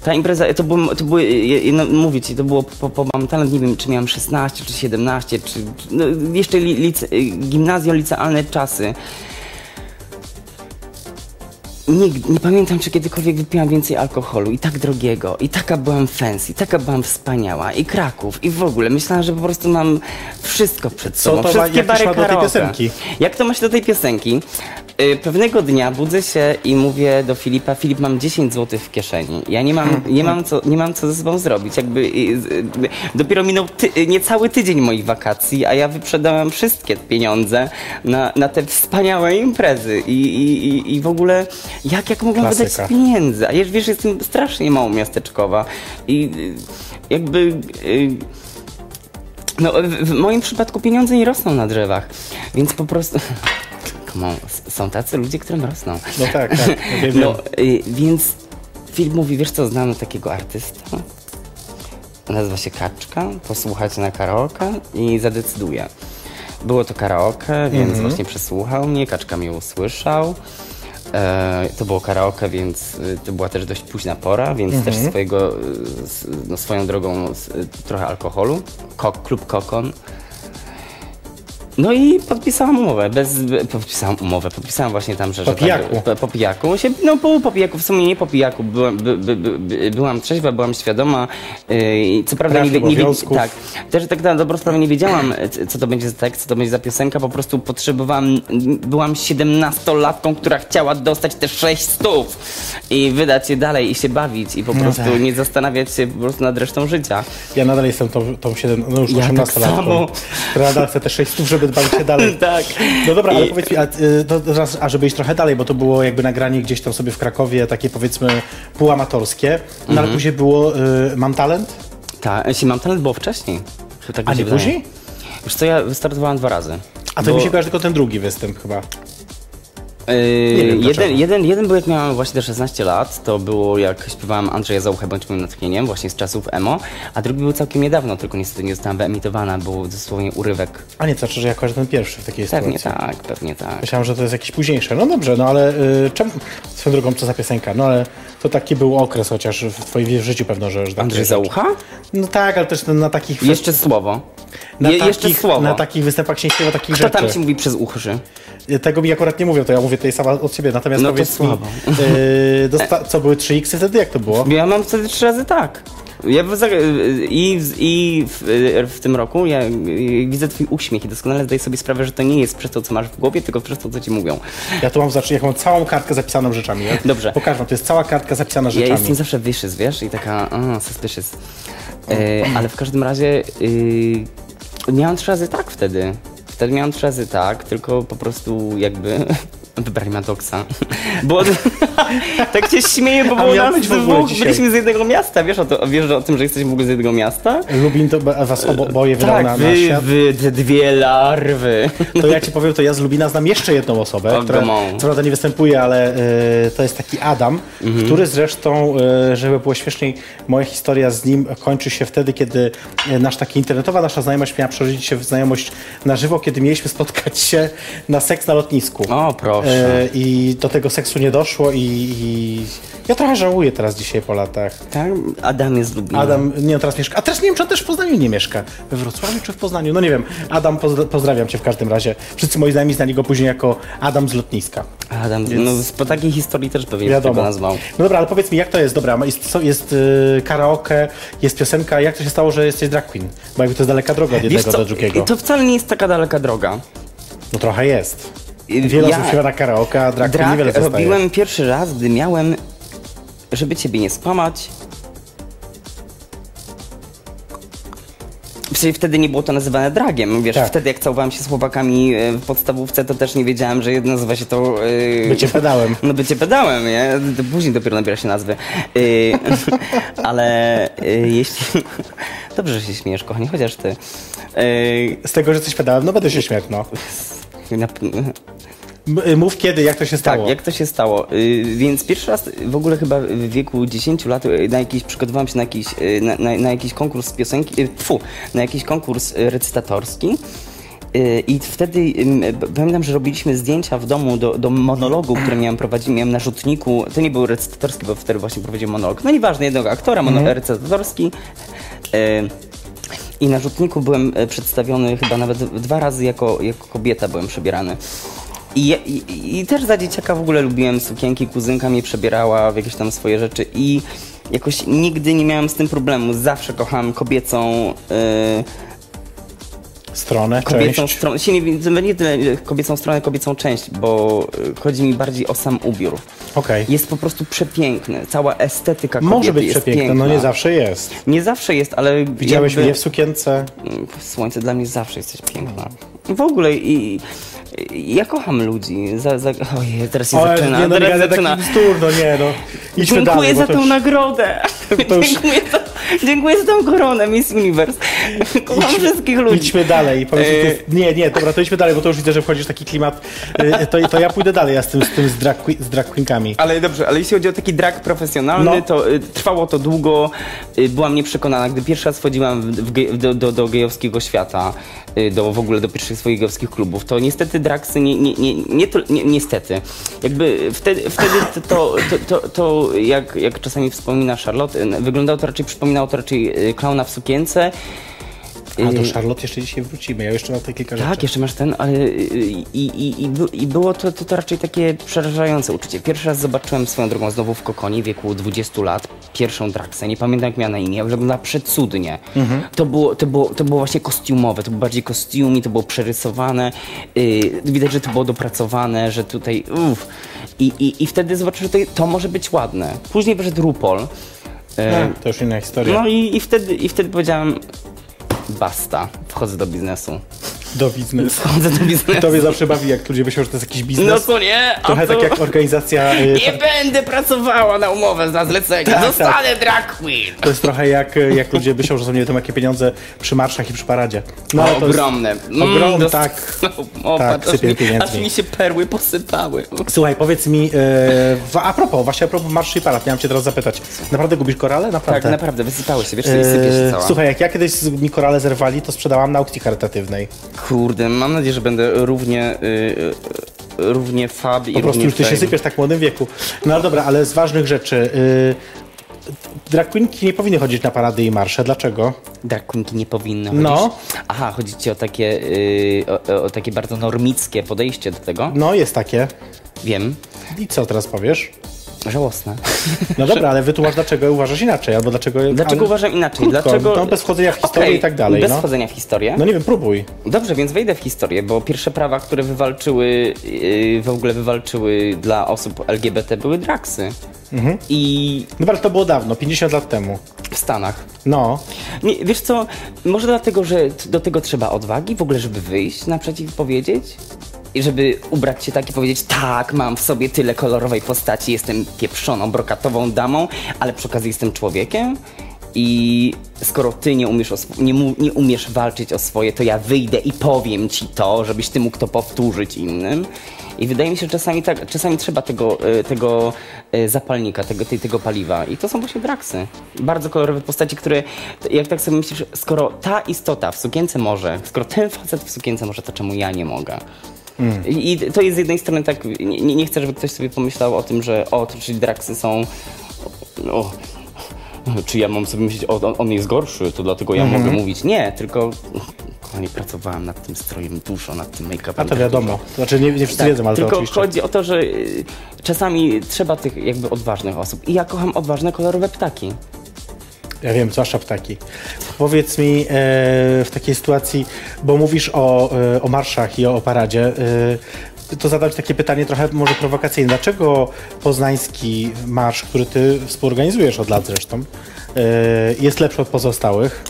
C: Ta impreza, to, był, to były, je- je- no, mówię ci, to było po, po Mam Talent, nie wiem, czy miałam 16, czy 17, czy czy- no, jeszcze li, lice, y, gimnazjum, licealne czasy. Nigdy, nie pamiętam, czy kiedykolwiek wypiłam więcej alkoholu i tak drogiego, i taka byłam fancy, taka byłam wspaniała, i Kraków, i w ogóle. Myślałam, że po prostu mam wszystko przed
B: Co
C: sobą,
B: to ma-
C: wszystkie
B: jak to się
C: bary
B: ma do tej
C: karaoke.
B: piosenki?
C: Jak to ma się do tej piosenki? Y, Pewnego dnia budzę się i mówię do Filipa, Filip, mam 10 zł w kieszeni. Ja nie mam, nie mam, co, nie mam co ze sobą zrobić. Jakby, y, z- y, dopiero minął ty, y, niecały tydzień moich wakacji, a ja wyprzedałem wszystkie pieniądze na, na te wspaniałe imprezy. I, i, i, i w ogóle, jak, jak mogłam wydać
B: Klasyka.
C: pieniędzy? A ja wiesz, jestem strasznie mało miasteczkowa. I y, jakby... y, no, w, w moim przypadku pieniądze nie rosną na drzewach, więc po prostu. *laughs* Come on, s- są tacy ludzie, którym rosną.
B: No tak, tak. Ja wiem,
C: No, y, więc film mówi, wiesz co, znamy takiego artysta. Nazywa się Kaczka, posłuchajcie na karaoke i zadecyduje. Było to karaoke, więc
B: Mhm.
C: właśnie przesłuchał mnie, Kaczka mnie usłyszał. E, to było karaoke, więc y, to była też dość późna pora, więc
B: Mhm.
C: też swojego, y, s- no, swoją drogą s- y, trochę alkoholu. Kok, klub Kokon. No i podpisałam umowę, bez, be- podpisałam umowę, podpisałam właśnie tam, że...
B: Po
C: że tak-
B: pijaku.
C: po, po pijaku, się, no pół po pijaku, w sumie nie po pijaku, byłam, by, by, by, by, byłam trzeźwa, byłam świadoma, yy, i co prawda
B: Praw,
C: nie, wie- nie, nie,
B: obowiązków.
C: tak, też tak na dobrą sprawę nie wiedziałam, e, c- co to będzie za tekst, co to będzie za piosenka, po prostu potrzebowałam, byłam siedemnastolatką, która chciała dostać te sześć stów i wydać je dalej i się bawić i po prostu
B: tak.
C: nie zastanawiać się po prostu nad resztą życia.
B: Ja nadal jestem tą, tą 7, no już
C: Ja tak
B: 18 lat.
C: samo.
B: Nadal chcę te 6 stów, żeby dbać się dalej.
C: *laughs* Tak.
B: No dobra, ale
C: I-
B: powiedz mi, a, y, to teraz, a żeby iść trochę dalej, bo to było jakby nagranie gdzieś tam sobie w Krakowie, takie powiedzmy półamatorskie, no ale
C: Mhm.
B: później było y, Mam Talent?
C: Tak, jeśli mam talent, było wcześniej. Tak
B: A
C: mi się
B: nie
C: wydaje.
B: później?
C: Wiesz co, ja wystartowałam dwa razy.
B: A to
C: Bo-
B: mi się kojarzy tylko ten drugi występ chyba.
C: Yy,
B: Nie wiem dlaczego.
C: jeden, jeden, jeden był jak miałem właśnie te 16 lat, to było jak śpiewałem Andrzeja Załuchę, bądź moim natchnieniem, właśnie z czasów emo, a drugi był całkiem niedawno, tylko niestety nie została wyemitowana, był dosłownie urywek.
B: A nie, to znaczy, że jako że ten pierwszy w takiej
C: Pewnie
B: sytuacji.
C: tak, pewnie tak.
B: Myślałem, że to jest jakieś późniejsze. No dobrze, no ale y, czemu? Swoją drogą, co za piosenka? No ale to taki był okres chociaż w twoim życiu pewno, że... że takie
C: Andrzej
B: rzeczy.
C: Załucha?
B: No tak, ale też na, na takich...
C: Jeszcze słowo.
B: na
C: Je,
B: takich,
C: jeszcze słowo.
B: Na takich występach się nie śpiewa takich
C: Kto
B: rzeczy.
C: tam ci mówi przez uszy?
B: Tego mi akurat nie mówią, to ja mówię tutaj sama od siebie. Natomiast
C: No to
B: powiedz mi,
C: słabo.
B: y, dosta- co były 3x wtedy, jak to było?
C: Ja mam wtedy trzy razy tak. Ja w- za- I, w- i w, w tym roku ja y, widzę twój uśmiech i doskonale zdaję sobie sprawę, że to nie jest przez to, co masz w głowie, tylko przez to, co ci mówią.
B: Ja tu mam, zac- ja mam całą kartkę zapisaną rzeczami. Ja
C: Dobrze.
B: Pokażę, wam, to jest cała kartka zapisana
C: Ja
B: rzeczami.
C: jestem zawsze vicious, wiesz, i taka a, suspicious. E, ale w każdym razie y, miałam trzy razy tak wtedy. Wtedy miałam trzy razy tak, tylko po prostu jakby *laughs* wybrali Madoksa. *laughs* Bo tak się śmieję, bo
B: A
C: było
B: miał
C: nas
B: być w ogóle
C: dwóch,
B: dzisiaj.
C: byliśmy z jednego miasta. Wiesz o, to, wiesz o tym, że jesteśmy w ogóle z jednego miasta?
B: Lubin to ba- was obo- oboje wydał
C: tak,
B: na, na
C: wy,
B: świat.
C: wy, te dwie larwy.
B: To ja ci powiem, to ja z Lubina znam jeszcze jedną osobę,
C: O,
B: która
C: gomą.
B: co prawda nie występuje, ale y, to jest taki Adam,
C: Mhm.
B: który zresztą, y, żeby było śmieszniej, moja historia z nim kończy się wtedy, kiedy y, nasz taki internetowa nasza znajomość miała przerodzić się w znajomość na żywo, kiedy mieliśmy spotkać się na seks na lotnisku.
C: O, No, proszę.
B: Y, I do tego seksu nie doszło i, i ja trochę żałuję teraz dzisiaj po latach.
C: Tak, Adam jest Lublina.
B: Adam, nie on teraz mieszka. A też nie wiem, czy on też w Poznaniu nie mieszka. We Wrocławiu czy w Poznaniu? No nie wiem. Adam, pozdra- pozdrawiam cię w każdym razie. Wszyscy moi znajomi znali go później jako Adam z lotniska.
C: Adam, no z- po takiej historii też pewnie bym go
B: Wiadomo.
C: nazwał.
B: No dobra, ale powiedz mi, jak to jest? Dobra, ma- jest, co- jest y, karaoke, jest piosenka. Jak to się stało, że jesteś drag queen? Bo jakby to jest daleka droga od
C: Wiesz
B: jednego
C: co,
B: do drugiego.
C: To wcale nie jest taka daleka droga.
B: No trochę jest.
C: I-
B: Wiele
C: ja-
B: osób śpiewa na karaoke, a drag queen
C: Drag
B: Tak, niewiele zostaje.
C: robiłem pierwszy raz, gdy miałem, żeby ciebie nie skłamać. Przecież wtedy nie było to nazywane dragiem, wiesz,
B: Tak.
C: wtedy jak całowałem się z chłopakami e, w podstawówce, to też nie wiedziałem, że nazywa się to... e,
B: Bycie pedałem.
C: No bycie pedałem, nie? To Później dopiero nabiera się nazwy. Y, *laughs* ale y, jeśli... *laughs* Dobrze, że się śmiejesz, kochanie, chociaż ty. Y,
B: Z tego, że jesteś pedałem, no będę się śmiać, no.
C: na,
B: M- y, Mów kiedy, jak to się stało.
C: Tak, jak to się stało. Y, więc pierwszy raz w ogóle chyba w wieku 10 lat y, na jakiś, przygotowałem się na jakiś, y, na, na, na jakiś konkurs piosenki, y, pfu, na jakiś konkurs y, recytatorski. Y, I wtedy ym, p- pamiętam, że robiliśmy zdjęcia w domu do, do monologu, który miałem prowadzić, miałem na rzutniku, to nie był recytatorski, bo wtedy właśnie prowadziłem monolog, no nieważne, jednego aktora, mono-
B: Mhm.
C: recytatorski. Y, i na rzutniku byłem e, przedstawiony chyba nawet dwa razy jako, jako kobieta byłem przebierany. I, ja- i, I też za dzieciaka w ogóle lubiłem sukienki, kuzynka mnie przebierała w jakieś tam swoje rzeczy i jakoś nigdy nie miałem z tym problemu. Zawsze kochałem kobiecą, e,
B: Stronę,
C: kobiecą
B: część.
C: stronę, się nie, nie tyle e, kobiecą stronę, kobiecą część, bo e, chodzi mi bardziej o sam ubiór.
B: Okej.
C: Jest po prostu przepiękny, cała estetyka kobiety
B: Może być
C: jest
B: przepiękna,
C: piękna.
B: no nie zawsze jest.
C: Nie zawsze jest, ale
B: Widziałeś
C: jakby-
B: mnie w sukience.
C: Słońce, dla mnie zawsze jesteś piękna. I w ogóle i, i ja kocham ludzi. Za, za, ojej, teraz się zaczyna.
B: nie, no, nie
C: teraz
B: gadaj
C: zaczyna.
B: taki bzdur, no nie, no. Idźmy
C: Dziękuję
B: dalej, bo
C: za
B: to
C: tą
B: już-
C: *laughs* nagrodę.
B: to już-
C: *laughs* Dziękuję, za, dziękuję za tą koronę
B: *laughs*
C: Miss Universe. Kocham wszystkich ludzi. E-
B: Idźmy dalej. Powiedz, mi, to jest, nie, nie, dobra, to idźmy dalej, bo to już widzę, że wchodzisz w taki klimat. Y, To, to ja pójdę dalej, ja z tym, z tym z drag, que- z drag queenkami.
C: Ale dobrze, ale jeśli chodzi o taki drag profesjonalny,
B: No.
C: to y, trwało to długo. Y, byłam nieprzekonana, gdy pierwszy raz wchodziłam w, w, ge- do, do, do gejowskiego świata, y, do w ogóle do pierwszych swoich gejowskich klubów, to niestety dragsy nie, nie, nie, nie, to, nie niestety. Jakby wtedy, wtedy to, to, to, to, to jak, jak czasami wspomina Charlotte, y, wyglądało to raczej, przypominało to raczej y, klauna w sukience. Y,
B: A do Charlotte jeszcze dzisiaj wrócimy, ja jeszcze mam takie kilka
C: E- Tak,
B: rzeczy.
C: jeszcze masz ten, ale y, i, i, i, by- i było to, to, to raczej takie przerażające uczucie. Pierwszy raz zobaczyłem swoją drogą znowu w Kokonie w wieku 20 lat pierwszą draksę. Nie pamiętam jak miała na imię, ale wyglądała przecudnie. To, było, to, było, to było właśnie kostiumowe, to było bardziej kostiumi, to było przerysowane. Yy, widać, że to było dopracowane, że tutaj uff. I, i, i wtedy zobaczyłem, że to, to może być ładne. Później wyszedł RuPaul. no Yy,
B: A, No, to już inna historia.
C: no i, i, wtedy, i wtedy powiedziałem basta, wchodzę do biznesu.
B: do biznesu.
C: Chodzę do biznesu.
B: To mnie zawsze bawi, jak ludzie myślą, że to jest jakiś biznes.
C: No to nie, a
B: Trochę
C: to...
B: tak jak organizacja. y,
C: Nie będę pracowała na umowę za zlecenie,
B: Tak,
C: zostanę drag queen.
B: To jest trochę jak, jak ludzie myślą, że są nie wiadomo jakie pieniądze przy marszach i przy paradzie. No, ale
C: No,
B: to jest-
C: ogromne.
B: ogrom,
C: dos-
B: tak.
C: O,
B: Tak,
C: patrz, aż
B: sypie
C: mi- Aż
B: pieniędzmi.
C: mi się perły posypały.
B: Słuchaj, powiedz mi, e, w, a propos, właśnie a propos marszy i parad, miałem cię teraz zapytać. Naprawdę gubisz korale? Naprawdę.
C: Tak, naprawdę, wysypały się, wiesz, co, i sypie się
B: E,
C: cała.
B: Słuchaj, jak ja kiedyś z- mi korale zerwali, to sprzedałam na aukcji charytatywnej.
C: Kurde, mam nadzieję, że będę równie, y, y, równie fab i
B: Po prostu
C: równie
B: już ty się
C: fame.
B: sypiesz tak w młodym wieku. No dobra, ale z ważnych rzeczy. Y, drag queenki nie powinny chodzić na parady i marsze. Dlaczego?
C: Drag queenki nie powinny chodzić.
B: No.
C: Aha, chodzi ci o takie, y, o, o- o takie bardzo normickie podejście do tego.
B: No, jest takie.
C: Wiem,
B: I co teraz powiesz?
C: żałosne.
B: No dobra, ale wytłumacz, dlaczego uważasz inaczej, albo dlaczego...
C: Dlaczego
B: a-
C: uważam inaczej?
B: Krótko,
C: Dlaczego...
B: No, bez wchodzenia w historię
C: Okej,
B: i tak dalej,
C: Bez
B: no.
C: wchodzenia w historię.
B: No nie wiem, próbuj.
C: Dobrze, więc wejdę w historię, bo pierwsze prawa, które wywalczyły, yy, w ogóle wywalczyły dla osób LGBT były draksy.
B: Mhm.
C: I
B: Dobra, No to było dawno, 50 lat temu.
C: w Stanach.
B: No,
C: Nie, wiesz co, może dlatego, że t- do tego trzeba odwagi w ogóle, żeby wyjść naprzeciw i powiedzieć? I żeby ubrać się tak i powiedzieć, tak, mam w sobie tyle kolorowej postaci, jestem pieprzoną, brokatową damą, ale przy okazji jestem człowiekiem. I skoro ty nie umiesz, o sw- nie, mu- nie umiesz walczyć o swoje, to ja wyjdę i powiem ci to, żebyś ty mógł to powtórzyć innym. I wydaje mi się, że czasami, tak, czasami trzeba tego, e, tego e, zapalnika, tego, tej, tego paliwa. I to są właśnie draksy. Bardzo kolorowe postaci, które, t- jak tak sobie myślisz, skoro ta istota w sukience może, skoro ten facet w sukience może, to czemu ja nie mogę?
B: Mm.
C: I i to jest z jednej strony tak, nie, nie nie chcę, żeby ktoś sobie pomyślał o tym, że o, to, czyli draksy są... O, czy ja mam sobie myśleć, o, on- on jest gorszy, to dlatego ja
B: Mhm.
C: mogę mówić. Nie, tylko... Kochani, pracowałam nad tym strojem dużo, nad tym make-upem.
B: a to
C: tak
B: wiadomo. Znaczy, nie, nie wszyscy wiedzą, ale
C: tylko
B: to oczywiście.
C: chodzi o to, że y, czasami trzeba tych jakby odważnych osób. I ja kocham odważne, kolorowe ptaki.
B: Ja wiem, zwłaszcza ptaki. Powiedz mi e, w takiej sytuacji, bo mówisz o, e, o marszach i o, o paradzie, e, to zadać takie pytanie trochę może prowokacyjne. Dlaczego poznański marsz, który ty współorganizujesz od lat zresztą, e, jest lepszy od pozostałych?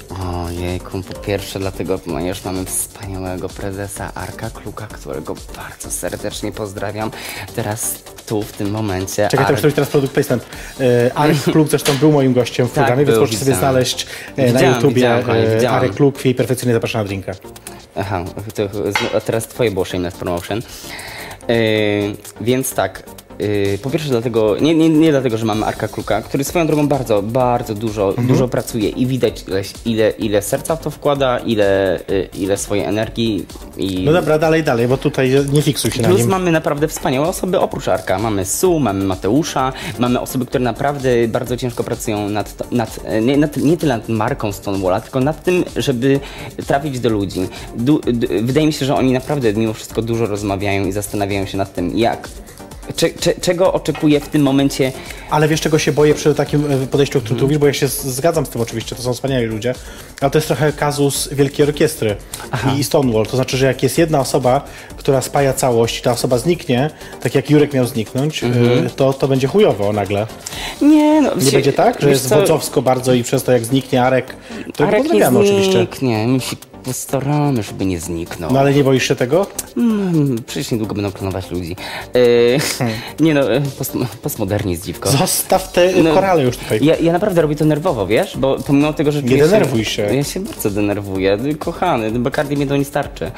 C: Ojejku, po pierwsze dlatego, ponieważ mamy wspaniałego prezesa Arka Kluka, którego bardzo serdecznie pozdrawiam. Teraz tu, w tym momencie.
B: Czekaj, to
C: Ark-
B: muszę robić teraz produkt placement. E, Arek Kluk zresztą był moim gościem w
C: Tak,
B: programie, więc
C: był,
B: możesz sobie
C: widziałem.
B: znaleźć e, na
C: Widziałem,
B: YouTubie
C: widziałem, kochani,
B: e,
C: widziałem.
B: Arek Kluk w jej perfekcyjnie zapraszana drinka.
C: Aha, to, a teraz twoje było shameless promotion. Yy, więc tak, yy, po pierwsze dlatego, nie, nie, nie dlatego, że mamy Arka Kruka, który swoją drogą bardzo, bardzo dużo, dużo pracuje i widać ile, ile, ile serca w to wkłada, ile, yy, ile swojej energii i...
B: No dobra, dalej, dalej, bo tutaj nie fiksuj się na
C: Plus
B: nim.
C: mamy naprawdę wspaniałe osoby oprócz Arka. Mamy Su, mamy Mateusza, mamy osoby, które naprawdę bardzo ciężko pracują nad, to- nad, e, nie, nad nie tyle nad marką Stonewalla, tylko nad tym, żeby trafić do ludzi. Du, d, wydaje mi się, że oni naprawdę mimo wszystko dużo rozmawiają i zastanawiają się nad tym, jak. Cze, cze, czego oczekuje w tym momencie
B: Ale wiesz, czego się boję przy takim e, podejściu, o
C: Mhm.
B: którym tu mówisz, bo ja się z- zgadzam z tym oczywiście, to są wspaniali ludzie, ale to jest trochę kazus Wielkiej Orkiestry i Stonewall. To znaczy, że jak jest jedna osoba, która spaja całość i ta osoba zniknie, tak jak Jurek miał zniknąć,
C: Mhm.
B: e, to, to będzie chujowo nagle.
C: Nie, no,
B: Nie będzie tak, że jest
C: wodzowska.
B: wodzowsko bardzo i przez to jak zniknie Arek, to
C: Arek nie
B: pozdrawiamy oczywiście.
C: zniknie, my się postaramy, żeby nie zniknął.
B: No ale nie boisz się tego?
C: Mm, przecież niedługo będą klonować ludzi. E,
B: *laughs*
C: Nie no, e, post, postmodernizm dziwko.
B: Zostaw te y,
C: No,
B: korale już tutaj.
C: Ja, ja naprawdę robię to nerwowo, wiesz? Bo pomimo tego, że... czuję
B: denerwuj się.
C: Ja się bardzo denerwuję. Kochany, no, Bacardi mnie do nie starczy. E,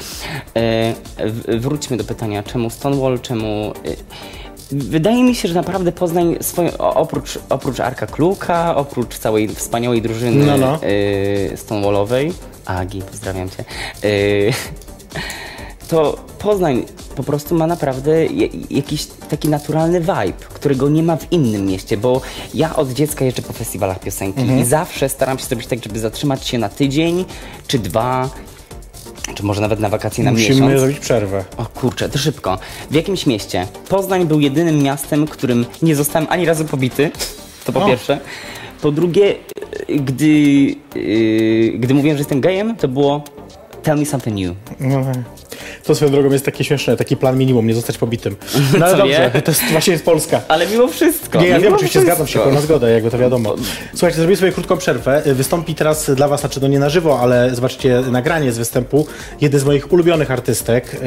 C: w, wróćmy do pytania, czemu Stonewall, czemu... E, Wydaje mi się, że naprawdę Poznań, swoje, o- oprócz, oprócz Arka Kluka, oprócz całej wspaniałej drużyny
B: No, no.
C: e, Stonewallowej, Agi, pozdrawiam cię, e, to Poznań po prostu ma naprawdę je- jakiś taki naturalny vibe, którego nie ma w innym mieście, bo ja od dziecka jeżdżę po festiwalach piosenki
B: Mhm.
C: i zawsze staram się zrobić tak, żeby zatrzymać się na tydzień czy dwa, czy może nawet na wakacje na
B: Musimy
C: miesiąc.
B: zrobić przerwę.
C: O kurczę, to szybko. W jakimś mieście. Poznań był jedynym miastem, którym nie zostałem ani razu pobity. To po
B: O.
C: pierwsze. Po drugie, y, gdy, y, yy, gdy mówiłem, że jestem gejem, to było tell me something new.
B: No. To swoją drogą jest takie śmieszne, taki plan minimum, nie zostać
C: *laughs*
B: pobitym. No ale
C: Co
B: dobrze,
C: nie?
B: to jest, właśnie jest Polska.
C: Ale mimo wszystko.
B: Nie, ja wiem,
C: mimo
B: oczywiście zgadzam się,
C: wszystko.
B: pełna zgoda, jakby to wiadomo. Słuchajcie, zrobimy sobie krótką przerwę. Y, Wystąpi teraz dla was, znaczy no nie na żywo, ale zobaczcie nagranie z występu. Jeden z moich ulubionych artystek, y,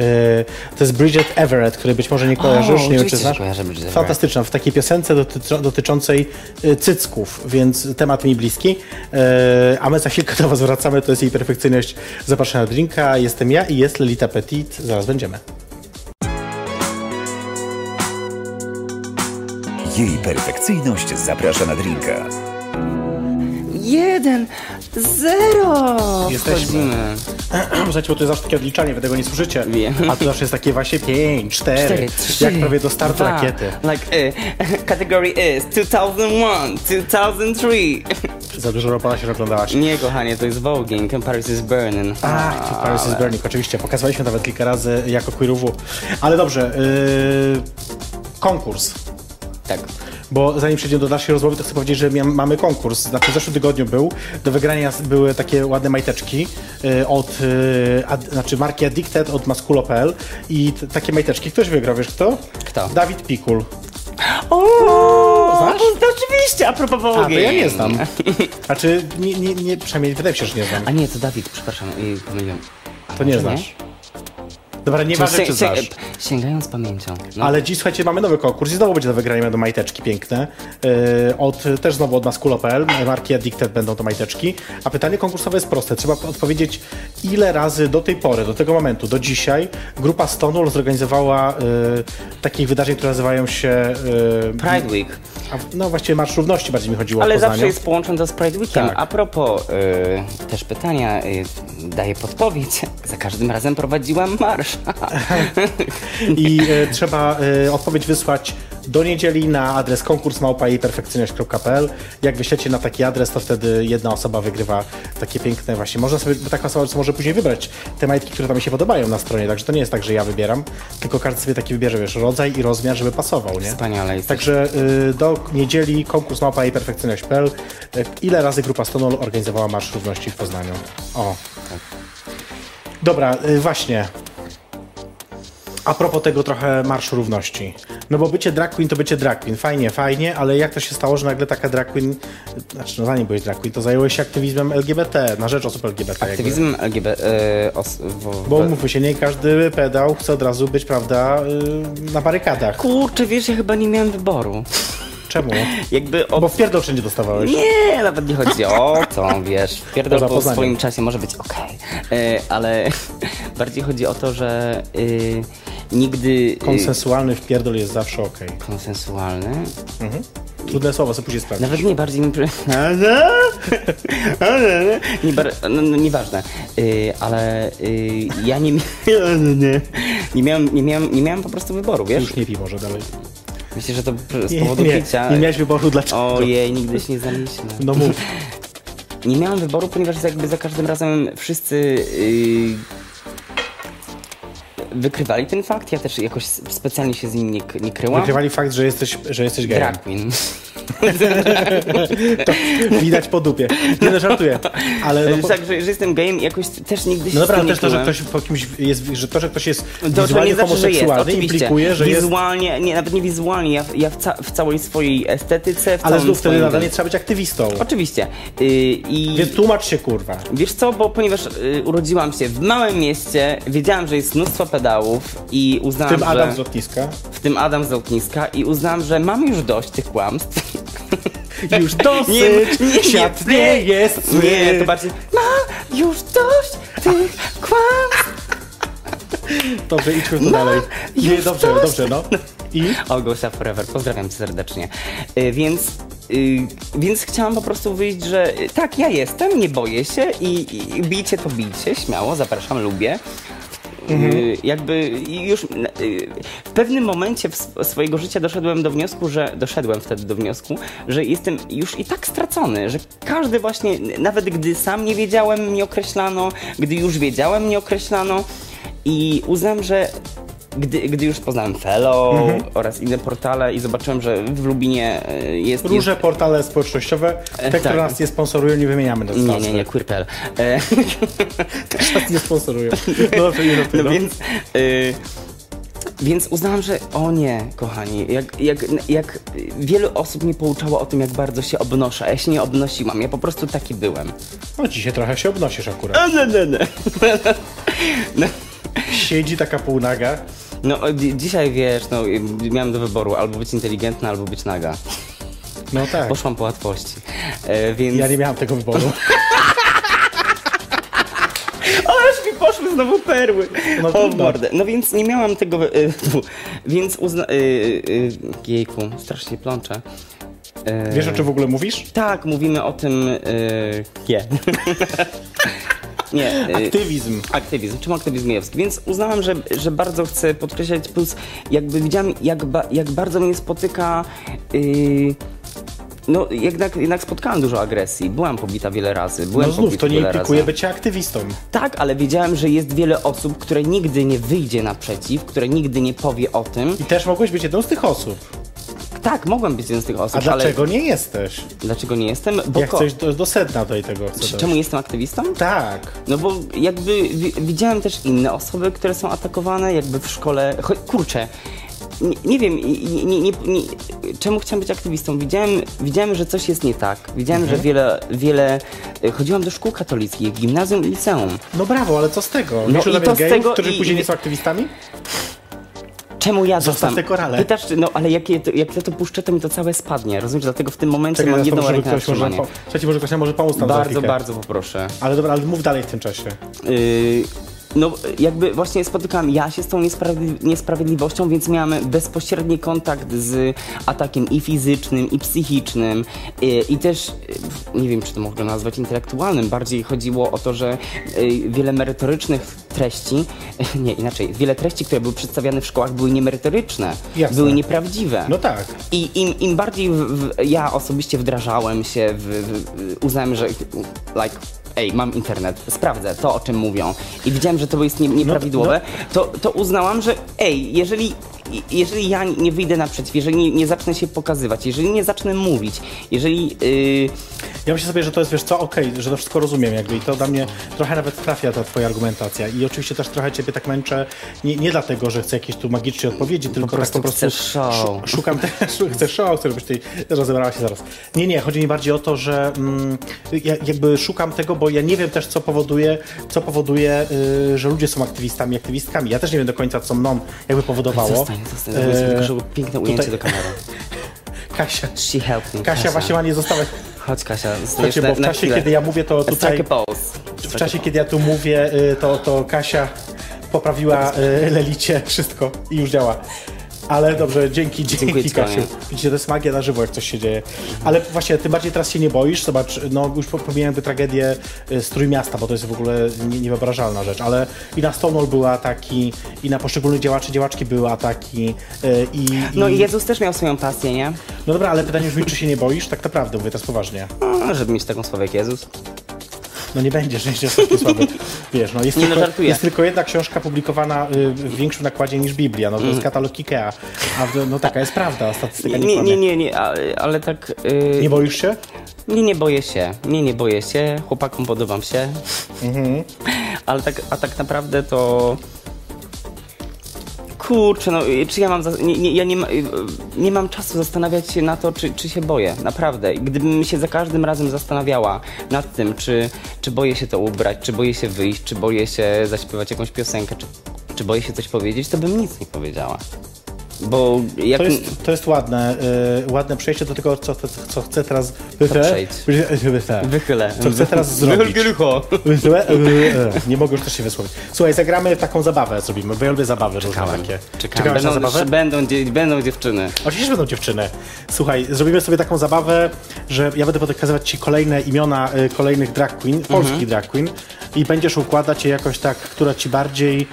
B: to jest Bridget Everett, której być może nie kojarzysz, nie wiem
C: oczywiście,
B: czy
C: że
B: znasz.
C: kojarzę Bridget Everett.
B: Fantastyczna, w takiej piosence dotyczo- dotyczącej y, cycków, więc temat mi bliski. Y, A my za chwilkę do was wracamy, to jest jej perfekcyjność. Zapraszam na drinka, jestem ja i jest Lelita Petit, zaraz będziemy.
A: Jej perfekcyjność zaprasza na drinka.
C: Jeden, zero.
B: Jesteśmy.
C: Wchodzimy.
B: *clears throat* Słuchajcie, bo to jest zawsze takie odliczanie, wy tego nie słyszycie.
C: Wiem.
B: A tu zawsze jest takie właśnie 5, 4,
C: Cztery, trzy,
B: jak prawie do startu
C: dwa.
B: rakiety.
C: Like, y, *laughs* category is 2001, 2003.
B: Za dużo Ropola się oglądałaś.
C: *laughs* Nie, kochanie, to jest Voguing, Paris is Burning.
B: Ach, to Paris is Burning, oczywiście. Pokazywaliśmy nawet kilka razy jako queerowu. Ale dobrze, yy, konkurs.
C: Tak.
B: Bo zanim przejdziemy do dalszej rozmowy, to chcę powiedzieć, że mia- mamy konkurs. Znaczy w zeszłym tygodniu był. Do wygrania s- były takie ładne majteczki y, od y, ad, znaczy marki Addicted od maskulo.pl i t- takie majteczki. Ktoś wygrał, wiesz kto?
C: Kto?
B: Dawid Pikul.
C: O,
B: znasz?
C: to oczywiście, a propos
B: A, to
C: Voguing.
B: ja nie znam. Znaczy, nie, nie, nie, przynajmniej wydaje mi się, że nie znam.
C: *laughs* A nie, to Dawid, przepraszam, y, pomyliłem. A
B: To nie
C: może
B: znasz. Dobra,
C: Czy
B: nieważne,
C: się-
B: czy
C: się-
B: znasz.
C: Sięgając pamięcią. No,
B: Ale dziś, słuchajcie, mamy nowy konkurs i znowu będzie do wygrania, będą majteczki piękne. Yy, od, też znowu od maskulo.pl, marki Addicted będą to majteczki. A pytanie konkursowe jest proste. Trzeba odpowiedzieć, ile razy do tej pory, do tego momentu, do dzisiaj grupa Stonewall zorganizowała yy, takich wydarzeń, które nazywają się... Yy,
C: Pride Week.
B: a, no właściwie Marsz Równości bardziej mi chodziło o
C: Ale
B: Poznaniu.
C: zawsze jest połączone to z Pride Weekiem.
B: Tak.
C: A propos y, też pytania, y, daję podpowiedź. *laughs* Za każdym razem prowadziłam marsz. *laughs*
B: I e, trzeba e, odpowiedź wysłać do niedzieli na adres konkurs perfekcyjność.pl. Jak wyślecie na taki adres, to wtedy jedna osoba wygrywa takie piękne właśnie. Można sobie, bo taka osoba może później wybrać te majtki, które tam mi się podobają na stronie, także to nie jest tak, że ja wybieram, tylko każdy sobie taki wybierze, wiesz, rodzaj i rozmiar, żeby pasował, nie?
C: Wspaniale jesteś.
B: Także y, do niedzieli konkurs małpa perfekcyjność.pl. E, Ile razy grupa Stonol organizowała Marsz Równości w Poznaniu? O. Dobra, y, właśnie. A propos tego trochę Marszu Równości. No bo bycie drag queen to bycie drag queen. Fajnie, fajnie, ale jak to się stało, że nagle taka drag queen, znaczy no zanim byłeś drag queen, to zajęłeś się aktywizmem LGBT, na rzecz osób LGBT. jakby.
C: Aktywizm LGBT. Y, os, w,
B: Bo
C: w-
B: mówmy się, nie każdy pedał chce od razu być, prawda, y, na barykadach.
C: Kurczę, wiesz, ja chyba nie miałem wyboru.
B: Czemu?
C: Jakby o...
B: Bo w pierdol wszędzie dostawałeś.
C: Nie, nawet nie chodzi o to,
B: *laughs*
C: wiesz. Pierdol
B: Poza
C: po
B: Poznaniem.
C: swoim czasie może być okej, Y, ale *laughs* bardziej chodzi o to, że y, nigdy... y,
B: Konsensualny wpierdol jest zawsze okej.
C: konsensualny?
B: Trudne słowa, sobie później sprawdzić.
C: Nawet nie bardziej mi... przy- *laughs* nie bar... no, no, nieważne, yy, ale yy, ja
B: *laughs*
C: nie, mia- nie. Nie, miałem, nie, miałem, nie miałem po prostu wyboru, wiesz?
B: Już nie pij może dalej.
C: Myślę, że to pr- z
B: Nie,
C: powodu
B: nie,
C: picia...
B: nie miałeś wyboru dlaczego.
C: Ojej, nigdy się nie znaliśmy.
B: No mów.
C: Nie miałem wyboru, ponieważ jakby za każdym razem wszyscy yy, wykrywali ten fakt. Ja też jakoś s- specjalnie się z nim nie, k- nie kryłam.
B: Wykrywali fakt, że jesteś, że jesteś gejem.
C: Drag queen.
B: Widać po dupie. Nie no, żartuję. Ale no, po...
C: tak, *laughs* że, że jestem gejem i jakoś też nigdy się
B: No dobra,
C: z
B: ale
C: tym
B: też
C: nie
B: to, że
C: kryłem.
B: ktoś po kimś jest, że to, że ktoś jest
C: To, to
B: wizualnie
C: nie znaczy, że jest,
B: homoseksualny
C: oczywiście.
B: implikuje, że jest.
C: wizualnie, nie, nawet nie wizualnie, ja, ja w, ca- w całej swojej estetyce, w
B: Ale
C: całym
B: znów wtedy
C: swoim-
B: nadal nie trzeba być aktywistą.
C: Oczywiście. Yy, i...
B: Więc tłumacz się kurwa.
C: Wiesz co, bo ponieważ y, urodziłam się w małym mieście, wiedziałam, że jest mnóstwo pedałów i
B: W
C: uznałam,
B: tym
C: że...
B: Adam z
C: *laughs*
B: lotniska.
C: w tym Adam z lotniska i uznałam, że mam już dość tych kłamstw. *laughs*
B: Już dosyć! Świat nie, jest zły.
C: Nie, to bardziej mam już dość tych kłamstw.
B: Dobrze, idźmy tu dalej.
C: No, już
B: Nie, dobrze,
C: dosyć.
B: dobrze, no. I?
C: O, Gosia Forever, pozdrawiam cię serdecznie. Y, więc, y, więc chciałam po prostu wyjść, że y, tak, ja jestem, nie boję się i, i bijcie to bijcie, śmiało, zapraszam, lubię. Y, jakby już y, w pewnym momencie w sw- swojego życia doszedłem do wniosku, że doszedłem wtedy do wniosku, że jestem już i tak stracony, że każdy właśnie, nawet gdy sam nie wiedziałem, mnie określano, gdy już wiedziałem, mnie określano i uznam, że gdy, gdy już poznałem Fellow oraz inne portale i zobaczyłem, że w Lubinie e, jest...
B: Róże portale społecznościowe, te,
C: E,
B: które
C: tak.
B: nas nie sponsorują, nie wymieniamy na
C: jest... Nie, nie, nie, queer.pl. E,
B: Też nas *laughs* nie sponsorują. No, dobrze, nie
C: No
B: no,
C: więc. Y, więc uznałam, że o nie, kochani, jak, jak, jak wielu osób mnie pouczało o tym, jak bardzo się obnoszę, a ja się nie obnosiłam, ja po prostu taki byłem.
B: no dzisiaj trochę się obnosisz akurat.
C: A, nie, nie, nie. No,
B: Siedzi taka półnaga.
C: no o, dzi- dzisiaj wiesz, no, y, miałam do wyboru albo być inteligentna, albo być naga.
B: No tak.
C: Poszłam po łatwości, e, więc...
B: Ja nie miałam tego wyboru.
C: Ależ mi poszły znowu perły.
B: No
C: No, o
B: trudno.
C: mordę. No więc nie miałam tego. Y, tu. więc uzna. Y, y, jejku, strasznie plączę. Y,
B: *laughs* Wiesz o czym w ogóle mówisz?
C: Tak, mówimy o tym. Y, nie. nie. y,
B: Aktywizm.
C: Aktywizm, czym aktywizm jest? Więc uznałam, że, że bardzo chcę podkreślać, plus jakby widziałam, jak, ba, jak bardzo mnie spotyka. Yy, no, jednak, jednak spotkałam dużo agresji. Byłam pobita wiele razy. Byłem
B: No znów,
C: pobita
B: to nie
C: wiele
B: implikuje
C: razy.
B: bycia aktywistą.
C: Tak, ale wiedziałem, że jest wiele osób, które nigdy nie wyjdzie naprzeciw, które nigdy nie powie o tym.
B: I też mogłeś być jedną z tych osób.
C: Tak, mogłem być jedną z tych
B: A
C: osób, ale
B: dlaczego nie jesteś?
C: dlaczego nie jestem? Bo
B: Jak
C: ko-
B: coś do, do sedna tutaj tego chcesz.
C: czemu jestem aktywistą?
B: Tak.
C: No bo jakby wi- widziałem też inne osoby, które są atakowane jakby w szkole. Cho- Kurczę, nie, nie wiem, i- i- nie, nie, nie, czemu chciałam być aktywistą? Widziałem, widziałem, że coś jest nie tak. Widziałem,
B: Mhm.
C: że wiele, wiele... y, Chodziłam do szkół katolickich, gimnazjum i liceum.
B: No brawo, ale co z tego? Wiesz
C: i
B: no,
C: to
B: o
C: z
B: gejów,
C: tego
B: którzy
C: i-
B: później
C: i-
B: nie są aktywistami?
C: Czemu ja
B: Zostaw
C: zostałem?
B: te korale.
C: Pytasz, czy- no ale jak, je, jak ja to puszczę, to mi to całe spadnie. Rozumiesz, dlatego w tym momencie
B: Czekaj,
C: mam
B: ja to
C: jedną
B: może
C: rękę na
B: ktoś może...
C: trzymanie.
B: Po... Trzeci może ktoś nam może pomóc tam za
C: Bardzo,
B: chwilkę.
C: bardzo poproszę.
B: Ale dobra, ale mów dalej w tym czasie.
C: Yy, no jakby właśnie spotykałam ja się z tą niesprawi- niesprawiedliwością, więc miałam bezpośredni kontakt z atakiem i fizycznym, i psychicznym, yy, i też, yy, nie wiem czy to można nazwać intelektualnym, bardziej chodziło o to, że yy, wiele merytorycznych treści, *laughs* nie inaczej, wiele treści, które były przedstawiane w szkołach były niemerytoryczne,
B: Jasne.
C: były nieprawdziwe.
B: No tak.
C: I im, im bardziej w, w, ja osobiście wdrażałem się, w, w, uznałem, że like, ej, mam internet, sprawdzę to, o czym mówią i widziałem, że to jest
B: No
C: nie, nieprawidłowe, To, to uznałam, że ej, jeżeli, jeżeli ja nie wyjdę naprzeciw, jeżeli nie, nie zacznę się pokazywać, jeżeli nie zacznę mówić, jeżeli... Yy,
B: Ja myślę sobie, że to jest, wiesz co, okej, że to wszystko rozumiem jakby i to dla mnie trochę nawet trafia ta twoja argumentacja i oczywiście też trochę ciebie tak męczę, nie, nie dlatego, że chcę jakiejś tu magicznej odpowiedzi, tylko
C: prostu
B: tak po prostu
C: chcę show.
B: szu- szukam te, *laughs* szu- chcę show, chcę, żebyś ty rozebrała się zaraz. Nie, nie, chodzi mi bardziej o to, że mm, ja jakby szukam tego, bo ja nie wiem też, co powoduje, co powoduje y, że ludzie są aktywistami, aktywistkami. Ja też nie wiem do końca, co mną jakby powodowało.
C: Zostań, zostań, zrobię sobie
B: E,
C: tylko, żeby piękne ujęcie
B: tutaj-
C: do kamery.
B: Kasia,
C: She helped me,
B: Kasia właśnie ma nie zostawać.
C: Chodź Kasia, zostajesz
B: Słuchajcie,
C: na,
B: bo w
C: na
B: czasie,
C: chwilę.
B: kiedy ja mówię, to tutaj...
C: Strike a pose.
B: W czasie, kiedy ja tu mówię, y, to, to Kasia poprawiła y, Lelicie wszystko i już działa. Ale dobrze, dzięki, dzięki
C: Dziękuję ci,
B: Kasiu.
C: kochanie.
B: Widzicie, to jest magia na żywo, jak coś się dzieje. Ale właśnie, ty bardziej teraz się nie boisz, zobacz, no już po- pomijam tę tragedię y, z Trójmiasta, bo to jest w ogóle nie- niewyobrażalna rzecz, ale i na Stonewall były ataki, i na poszczególnych działaczy, działaczki były ataki, y, i...
C: No i Jezus też miał swoją pasję, nie?
B: no dobra, ale pytanie brzmi, czy się nie boisz? Tak naprawdę, mówię teraz poważnie.
C: No, żeby mieć taką sławę jak Jezus.
B: No nie będziesz, nie będziesz taki
C: *laughs*
B: słaby. Wiesz, no jest,
C: Nie, no,
B: tylko,
C: żartuję.
B: jest tylko jedna książka publikowana y, w większym nakładzie niż Biblia, no to jest katalog Ikea. A w- no taka jest prawda, statystyka
C: Mhm. Nie,
B: nie,
C: nie,
B: kłamie.
C: nie, nie, nie ale, ale tak. Yy,
B: Nie
C: nie,
B: boisz się?
C: nie, boję się. Nie, nie boję się. Chłopakom podobam się.
B: Mhm.
C: Ale tak, a tak naprawdę to. Kurczę, no yy, czy ja mam. Za... Nie, nie, ja nie, ma... yy, nie mam czasu zastanawiać się na to, czy, czy się boję. Naprawdę. Gdybym się za każdym razem zastanawiała nad tym, czy, czy boję się to ubrać, czy boję się wyjść, czy boję się zaśpiewać jakąś piosenkę, czy, czy boję się coś powiedzieć, to bym nic nie powiedziała. Bo jak.
B: To jest, to jest ładne, y, ładne przejście do tego, co, co chcę teraz...
C: przejdź. Wychylę.
B: Co chcę
C: *laughs*
B: teraz zrobić? e,
C: Rucho.
B: Nie mogę już też się wysłowić. Słuchaj, zagramy w taką zabawę, zrobimy, bo ja lubię zabawy różne takie.
C: Czekam.
B: Czekałeś na
C: Będą,
B: zabawę?
C: będą, dzie- będą dziewczyny.
B: Oczywiście będą dziewczyny. Słuchaj, zrobimy sobie taką zabawę, że ja będę pokazywać ci kolejne imiona y, kolejnych drag
C: Mhm.
B: queen, polskich drag queen i będziesz układać je jakoś tak, która ci bardziej...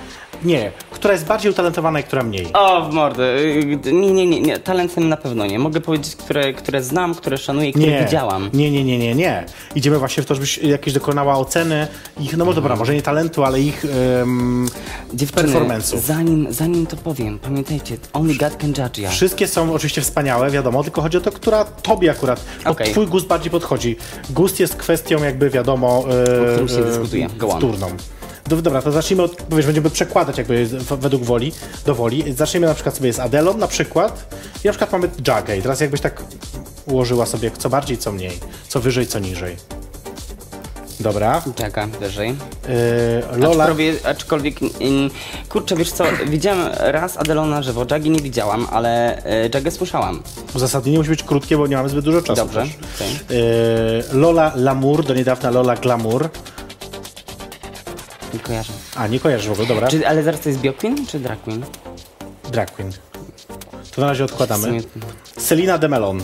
B: Nie, która jest bardziej utalentowana i która mniej?
C: O, w mordę. Y, Nie, nie, nie, nie. Talentem na pewno nie. Mogę powiedzieć, które, które znam, które szanuję i które widziałam.
B: Nie, nie, nie, nie, nie. Idziemy właśnie w to, żebyś jakieś dokonała oceny ich, no bo
C: Mhm.
B: dobra, może nie talentu, ale ich em,
C: Dziewczyny,
B: performance'ów.
C: zanim, zanim to powiem, pamiętajcie, only God can judge ja.
B: Wszystkie są oczywiście wspaniałe, wiadomo, tylko chodzi o to, która tobie akurat, pod
C: Okej.
B: twój gust bardziej podchodzi. Gust jest kwestią jakby wiadomo... E,
C: którym się dyskutuje. Go on.
B: Wtórną. Do- Dobra, to zacznijmy od, powiesz, będziemy przekładać jakby w- według woli, do woli. Zaczniemy na przykład sobie z Adelą na przykład i na przykład mamy Jagę i teraz jakbyś tak ułożyła sobie co bardziej, co mniej, co wyżej, co niżej. Dobra.
C: Czeka, wyżej.
B: Yy, Lola,
C: Aczkolwiek, mm, aczkolwiek in, kurczę, wiesz co, widziałem raz Adelona na żywo, Jagi nie widziałam, ale y, Jagę słyszałam.
B: uzasadnienie musi być krótkie, bo nie mamy zbyt dużo czasu.
C: Dobrze,
B: też.
C: okej.
B: Yy, Lola Lamour, do niedawna Lola Glamour.
C: Nie kojarzę.
B: A, nie kojarzysz w ogóle, dobra.
C: Czy, ale zaraz to jest bio queen czy drag queen?
B: Drag Queen. To na razie
C: W sumie-
B: odkładamy. Selina Demelon.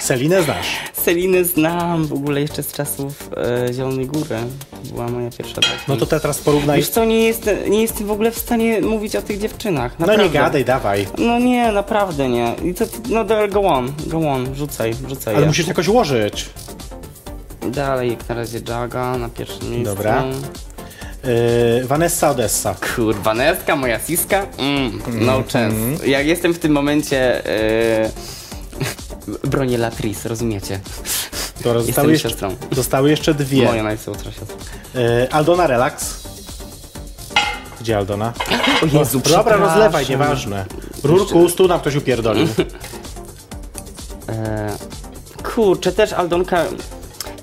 B: Selinę znasz.
C: Selinę znam w ogóle jeszcze z czasów e, Zielonej Góry. To była moja pierwsza drag
B: No
C: queen.
B: to te teraz porównaj.
C: Wiesz co, nie, jest, nie jestem w ogóle w stanie mówić o tych dziewczynach.
B: No
C: Naprawdę.
B: nie gadaj, dawaj.
C: No nie, naprawdę nie. I to, no do- go on, go on, rzucaj, rzucaj.
B: Ale
C: je.
B: musisz jakoś ułożyć.
C: Dalej, jak na razie Jaga na pierwszym miejscu.
B: Dobra. Yy, Vanessa Odessa.
C: Kurwa, Neska, moja siska? Mm,
B: Mhm.
C: no chance. Ja jestem w tym momencie... *laughs* Yy... Bronię Latrice, rozumiecie?
B: To roz-
C: Jestem
B: jeszcze,
C: siostrą.
B: zostały jeszcze dwie.
C: Moja najsłutsza siostra.
B: Yy, Aldona Relax. Gdzie Aldona? No,
C: O Jezu,
B: Dobra,
C: przepraszam.
B: rozlewaj, nieważne. Rurku, stu nam ktoś upierdolił.
C: E, kurczę, też Aldonka.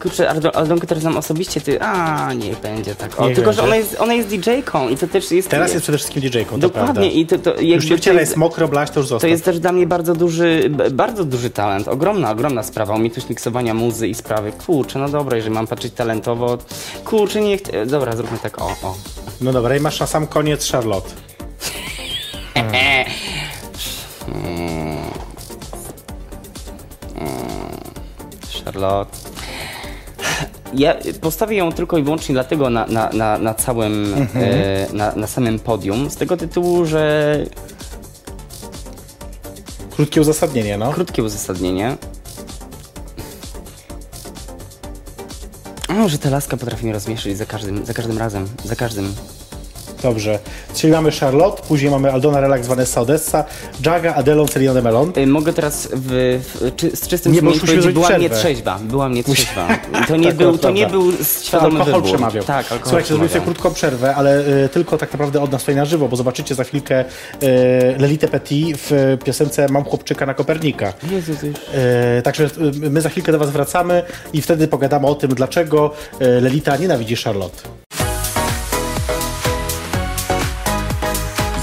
C: Kurczę, Aldo- Aldonkę też znam osobiście, ty. A, nie będzie tak. O,
B: Nie
C: tylko,
B: będzie.
C: że ona jest, ona jest DJ-ką i to też jest.
B: Teraz jest przede wszystkim DJ-ką, to
C: Dokładnie,
B: prawda.
C: i to, to,
B: Już
C: jakby
B: nie
C: to
B: wciele
C: jest-
B: jest mokro, blaś, to już zostaw.
C: To jest też dla mnie bardzo duży, b- bardzo duży talent. Ogromna, ogromna sprawa. Umiejętność miksowania muzy i sprawy. Kurczę, no dobra, jeżeli mam patrzeć talentowo. Kurczę, nie chci- e, Dobra, zróbmy tak. O, o.
B: No dobra, i masz na sam koniec Charlotte.
C: Charlotte. Ja postawię ją tylko i wyłącznie dlatego na, na, na, na całym,
B: Mhm.
C: e, na, na samym podium, z tego tytułu, że
B: Krótkie uzasadnienie, no.
C: krótkie uzasadnienie. O, że ta laska potrafi mnie rozmieszyć za każdym, za każdym razem, za każdym.
B: Dobrze. Czyli mamy Charlotte, później mamy Aldona Relax, Vanessa Odessa, Jaga, Adelon, Celine Melon.
C: Y, Mogę teraz w, w, czy, z czystym
B: Nie, bo
C: sumieniem
B: musimy
C: powiedzieć,
B: zrobić
C: była
B: przerwę.
C: mnie trzeźba, była mnie trzeźba.
B: *laughs*
C: To nie,
B: Tak,
C: był, to
B: prawda.
C: nie był świadomy
B: alkohol
C: wybór.
B: przemawiał.
C: Tak, alkohol
B: Słuchajcie, zrobimy sobie
C: przemawiał.
B: krótką przerwę, ale y, tylko tak naprawdę od nas tutaj na żywo, bo zobaczycie za chwilkę y, Lelitę Petit w y, piosence Mam chłopczyka na Kopernika.
C: Jezu, to już...
B: E, Także e, my za chwilkę do Was wracamy i wtedy pogadamy o tym, dlaczego e, Lelita nienawidzi Charlotte.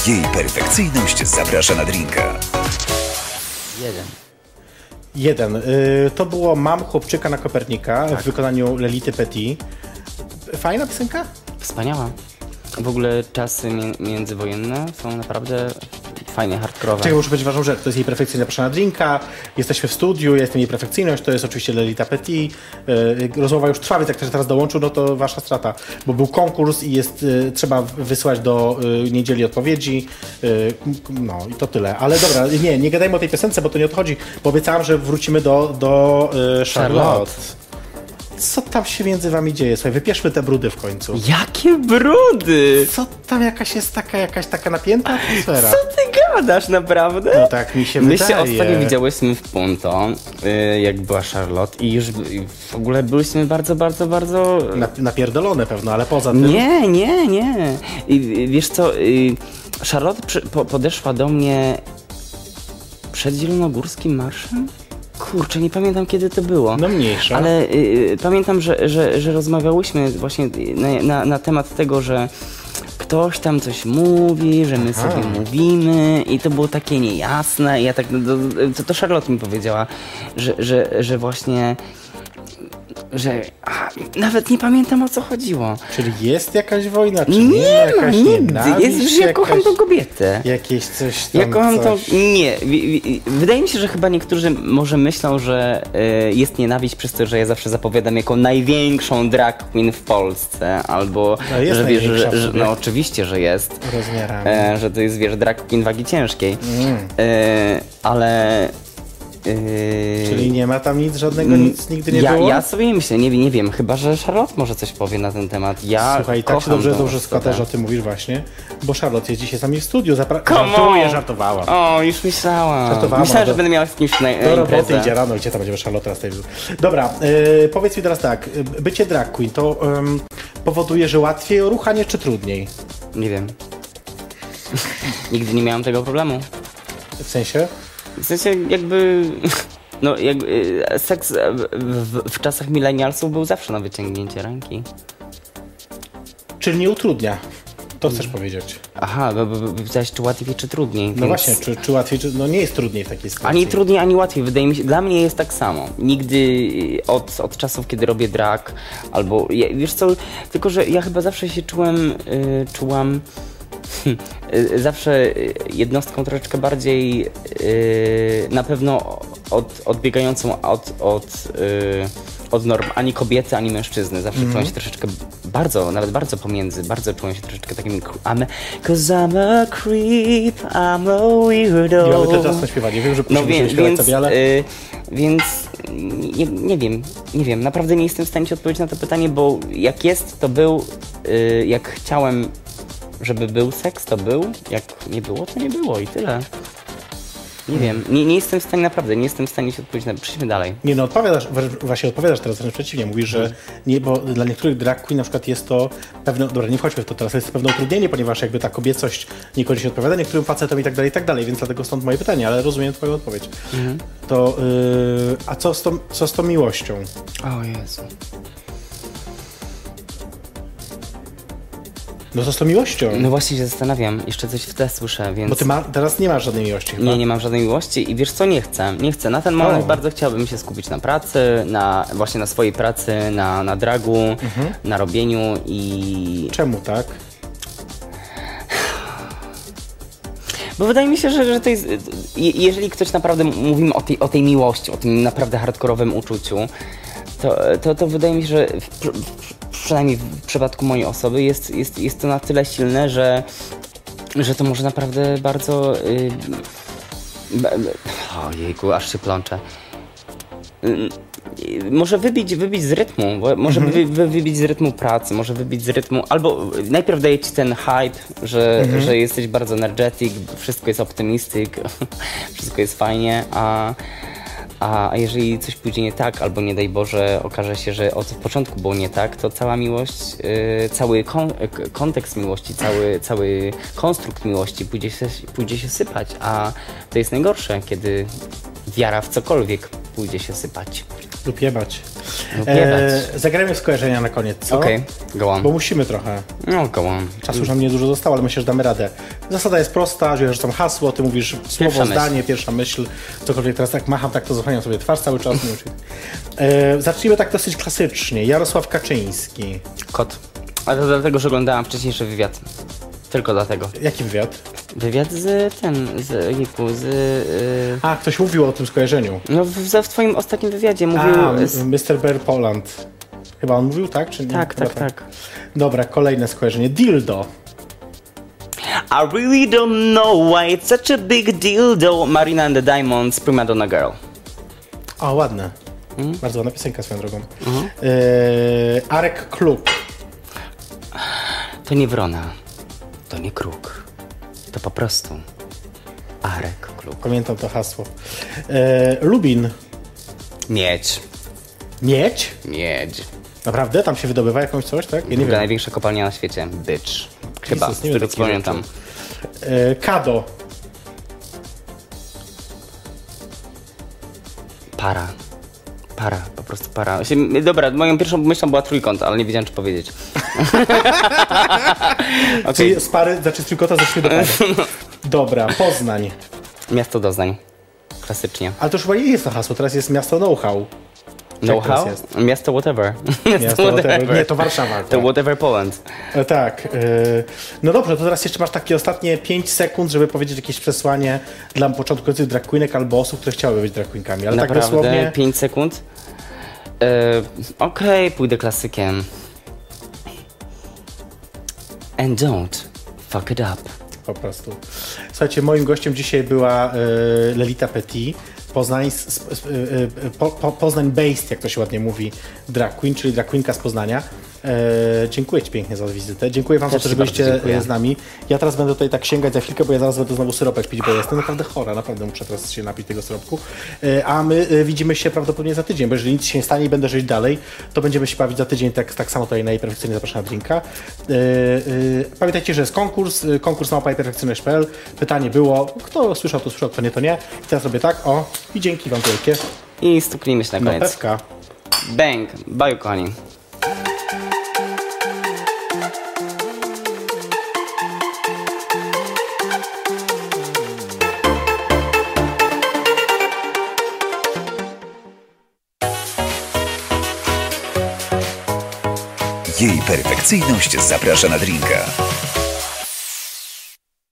A: Jej perfekcyjność zaprasza na drinka.
C: Jeden.
B: Jeden. E, To było Mam chłopczyka na Kopernika
C: Tak.
B: w wykonaniu Lelity Petit. Fajna piosenka?
C: Wspaniała. W ogóle czasy mi- międzywojenne są naprawdę fajnie hardkorowe.
B: Czekaj, muszę powiedzieć ważną rzecz. To jest jej perfekcyjna na drinka. Jesteśmy w studiu, ja jestem jej perfekcyjność. To jest oczywiście Lelita Petit. E, Rozmowa już trwa, więc jak ktoś teraz dołączył, no to wasza strata. Bo był konkurs i jest, e, trzeba wysłać do e, niedzieli odpowiedzi. E, No i to tyle. Ale dobra, nie, nie gadajmy o tej piosence, bo to nie odchodzi. Bo obiecałam, że wrócimy do, do e, Charlotte.
C: Charlotte.
B: Co tam się między wami dzieje? Słuchaj, wypieszmy te brudy w końcu.
C: Jakie brudy!
B: Co tam jakaś jest taka, jakaś taka napięta atmosfera?
C: Co ty gadasz naprawdę?
B: No tak mi się
C: My
B: wydaje.
C: się ostatnio widziałyśmy w Punto, y, jak była Charlotte i już y, w ogóle byliśmy bardzo, bardzo, bardzo...
B: Na, napierdolone pewno, ale poza tym.
C: Nie, nie, nie. I, i wiesz co, y, Charlotte przy, po, podeszła do mnie przed Zielonogórskim Marszem? Kurczę, nie pamiętam kiedy to było.
B: No mniejsza.
C: Ale y, pamiętam, że, że, że rozmawiałyśmy właśnie na, na, na temat tego, że ktoś tam coś mówi, że my sobie mówimy i to było takie niejasne i ja tak, no, to, to Charlotte mi powiedziała, że, że, że właśnie że a, nawet nie pamiętam o co chodziło.
B: Czyli jest jakaś wojna, czy nie,
C: Nie, ma
B: jakaś
C: nigdy.
B: nienawiść,
C: Jest, że ja kocham tą
B: jakaś-
C: kobietę.
B: Jakieś coś tam,
C: Ja kocham tą.
B: coś.
C: Nie. wi- wi- Wydaje mi się, że chyba niektórzy może myślą, że e, jest nienawiść przez to, że ja zawsze zapowiadam jako największą drag queen w Polsce. Albo
B: No, jest
C: że wiesz, że,
B: największa
C: że
B: w sumie.
C: no oczywiście, że jest.
B: Rozmiarami.
C: E, że to jest, wiesz, drag queen wagi ciężkiej.
B: Mm.
C: E, ale. e,
B: Czyli nie ma tam nic żadnego, nic nigdy nie
C: Mm, ja,
B: było?
C: Ja sobie myślę, nie, nie wiem, chyba że Charlotte może coś powie na ten temat. Ja
B: Słuchaj, tak
C: kocham
B: się dobrze,
C: tą
B: dobrze
C: osobę.
B: składa, że o tym mówisz właśnie, bo Charlotte jest dzisiaj sami w studiu. Zapra-
C: Come
B: żartuję,
C: on!
B: żartowałam.
C: O, już myślałam.
B: Żartowałam,
C: Myślałem,
B: do-
C: że będę miała z kimś na, na
B: Do roboty
C: imprezę.
B: idzie rano, gdzie tam będziemy Charlotte teraz tej Dobra, yy, powiedz mi teraz tak, y, bycie drag queen to ym, powoduje, że łatwiej o ruchanie czy trudniej?
C: Nie wiem. *laughs* Nigdy nie miałam tego problemu.
B: W sensie?
C: W sensie jakby... *laughs* No, jakby e, seks e, w, w, w czasach milenialsów był zawsze na wyciągnięcie ręki.
B: Czyli nie utrudnia. To chcesz
C: Mm.
B: powiedzieć.
C: Aha, bo, bo, bo pytałeś, czy łatwiej, czy trudniej.
B: No właśnie, czy, czy łatwiej, czy, no nie jest trudniej w takiej sytuacji.
C: Ani trudniej, ani łatwiej. Wydaje mi się, dla mnie jest tak samo. Nigdy y, od, od czasów, kiedy robię drag, albo ja, wiesz co, tylko że ja chyba zawsze się czułem, y, czułam *laughs* y, zawsze y, jednostką troszeczkę bardziej y, na pewno od, odbiegającą od, od, y, od norm ani kobiety, ani mężczyzny. Zawsze czułem się troszeczkę bardzo, nawet bardzo pomiędzy, bardzo czułem się troszeczkę takim kr- I'm, cause I'm a creep, I'm a weirdo.
B: Nie mamy też czas na śpiewanie. Wiem, że
C: No
B: musimy
C: więc,
B: śpiewać
C: więc,
B: sobie, ale...
C: y, więc nie, nie wiem, nie wiem, naprawdę nie jestem w stanie ci odpowiedzieć na to pytanie, bo jak jest, to był, y, jak chciałem, żeby był seks, to był, jak nie było, to nie było i tyle. Nie wiem, nie, nie jestem w stanie, naprawdę, nie jestem w stanie ci odpowiedzieć na Przejdźmy dalej.
B: Nie no, odpowiadasz, wręcz- właśnie odpowiadasz teraz wręcz przeciwnie. Mówisz, że nie, bo dla niektórych drag queen na przykład jest to pewne, no dobra, nie wchodźmy w to teraz, jest pewne utrudnienie, ponieważ jakby ta kobiecość niekoniecznie odpowiada niektórym facetom i tak dalej, i tak dalej, więc dlatego stąd moje pytanie, ale rozumiem twoją odpowiedź.
C: Mhm.
B: To, yy, a co z, tą, co z tą miłością?
C: O Jezu.
B: No co z tą miłością?
C: No właśnie się zastanawiam, jeszcze coś w te słyszę, więc...
B: Bo ty ma, teraz nie masz żadnej miłości chyba.
C: Nie, nie mam żadnej miłości i wiesz co, nie chcę, nie chcę. Na ten moment
B: O.
C: bardzo chciałbym się skupić na pracy, na właśnie na swojej pracy, na, na dragu, na robieniu i...
B: Czemu tak?
C: Bo wydaje mi się, że, że to jest... je- Jeżeli ktoś naprawdę mówimy o tej, o tej miłości, o tym naprawdę hardkorowym uczuciu, to, to, to wydaje mi się, że w, przy- przy- przynajmniej w przypadku mojej osoby jest, jest, jest to na tyle silne, że, że to może naprawdę bardzo... Yy, b- b- Ojejku, aż się plączę. Y, może wybić, wybić z rytmu, bo może wy, wy, wybić z rytmu pracy, może wybić z rytmu, albo najpierw daje ci ten hype, że, że jesteś bardzo energetic, wszystko jest optymistyk, *laughs* wszystko jest fajnie, a, a, a jeżeli coś pójdzie nie tak, albo nie daj Boże okaże się, że od początku było nie tak, to cała miłość, y, cały kon, k- kontekst miłości, cały, cały konstrukt miłości pójdzie się, pójdzie się sypać, a to jest najgorsze, kiedy wiara w cokolwiek pójdzie się sypać.
B: Lub jebać.
C: Lub jebać.
B: E, zagrajmy w skojarzenia na koniec, co?
C: Okej, go on.
B: No. Bo musimy trochę.
C: No, go on.
B: Czasu już nam nie dużo zostało, ale myślę, że damy radę. Zasada jest prosta, że ja rzucam hasło, ty mówisz słowo,
C: Pierwsza myśl.
B: zdanie, pierwsza myśl, cokolwiek teraz tak macham, tak to zachowaniam sobie twarz cały czas. nie wiem, czy- e, zacznijmy tak dosyć klasycznie. Jarosław Kaczyński.
C: Kot. Ale to dlatego, że oglądałam wcześniejszy wywiad. Tylko dlatego.
B: Jaki wywiad?
C: Wywiad z ten, z Liku, z... Yy,
B: A, ktoś mówił o tym skojarzeniu.
C: no, w, w twoim ostatnim wywiadzie
B: A, mm,
C: mówił... z,
B: m- Mr. Bear Poland. Chyba on mówił, tak? Czy nie?
C: tak,
B: Chyba
C: tak, tak.
B: Dobra, kolejne skojarzenie. Dildo.
C: I really don't know why it's such a big deal though. Marina and the Diamonds, Prima Donna Girl.
B: O, ładne. Bardzo ładna piosenka swoją drogą.
C: Mhm.
B: E, Arek Klub.
C: To nie wrona. To nie kruk. To po prostu Arek Klub.
B: Pamiętam to hasło. E, Lubin.
C: Miedź.
B: Miedź?
C: Miedź.
B: Naprawdę? Tam się wydobywa jakąś coś, tak? Ja nie
C: Druga
B: wiem.
C: największa kopalnia na świecie. Bitch. Chyba,
B: Jezus,
C: z
B: nie wiem
C: tego co
B: takich
C: pamiętam.
B: rzeczy. E, Kado.
C: Para. Para, po prostu para. Właśnie, Dobra, moją pierwszą myślą była trójkąt, ale nie wiedziałem, czy
B: *laughs*
C: powiedzieć. Okej,
B: Czyli z pary, znaczy z trójkota zeszli do
C: *laughs*
B: pary.
C: No.
B: Dobra, Poznań.
C: miasto doznań. Klasycznie.
B: Tak, Ale to już chyba nie jest to hasło, teraz jest miasto know-how.
C: Know-how?
B: teraz jest?
C: Miasto whatever. *laughs*
B: Miasto whatever. Nie, to Warszawa.
C: tak.
B: tak.
C: To whatever Poland.
B: E, Tak. e, No dobrze, to teraz jeszcze masz takie ostatnie 5 sekund, żeby powiedzieć jakieś przesłanie dla początkujących drag queenek albo osób, które chciałyby być drag queenkami. Ale tak
C: Naprawdę,
B: dosłownie.
C: 5 sekund. E, Okej, pójdę klasykiem. And don't fuck it up.
B: Po prostu. Słuchajcie, moim gościem dzisiaj była e, Lelita Petit. Poznań, s- s- e, e, po, po, Poznań based, jak to się ładnie mówi, drag queen, czyli drag queenka z Poznania. E, dziękuję Ci pięknie za wizytę. Dziękuję Wam za
C: Też
B: to, że
C: ci bardzo
B: byliście
C: dziękuję.
B: e, z nami. Ja teraz będę tutaj tak sięgać za chwilkę, bo ja zaraz będę znowu syropek pić, bo ja jestem naprawdę chora. Naprawdę muszę teraz się napić tego syropku. E, A my e, widzimy się prawdopodobnie za tydzień, bo jeżeli nic się nie stanie i będę żyć dalej, to będziemy się bawić za tydzień tak, tak samo tutaj na perfekcyjnie zapraszam na drinka. E, e, Pamiętajcie, że jest konkurs, e, konkurs na perfekcyjność.pl. Pytanie było, kto słyszał, to słyszał, kto nie, to nie. I teraz robię tak, o, i dzięki Wam wielkie.
C: I stuknijmy się na
B: No,
C: koniec.
B: pewka.
C: Bang! Bye, kochani.
A: Jej perfekcyjność zaprasza na drinka.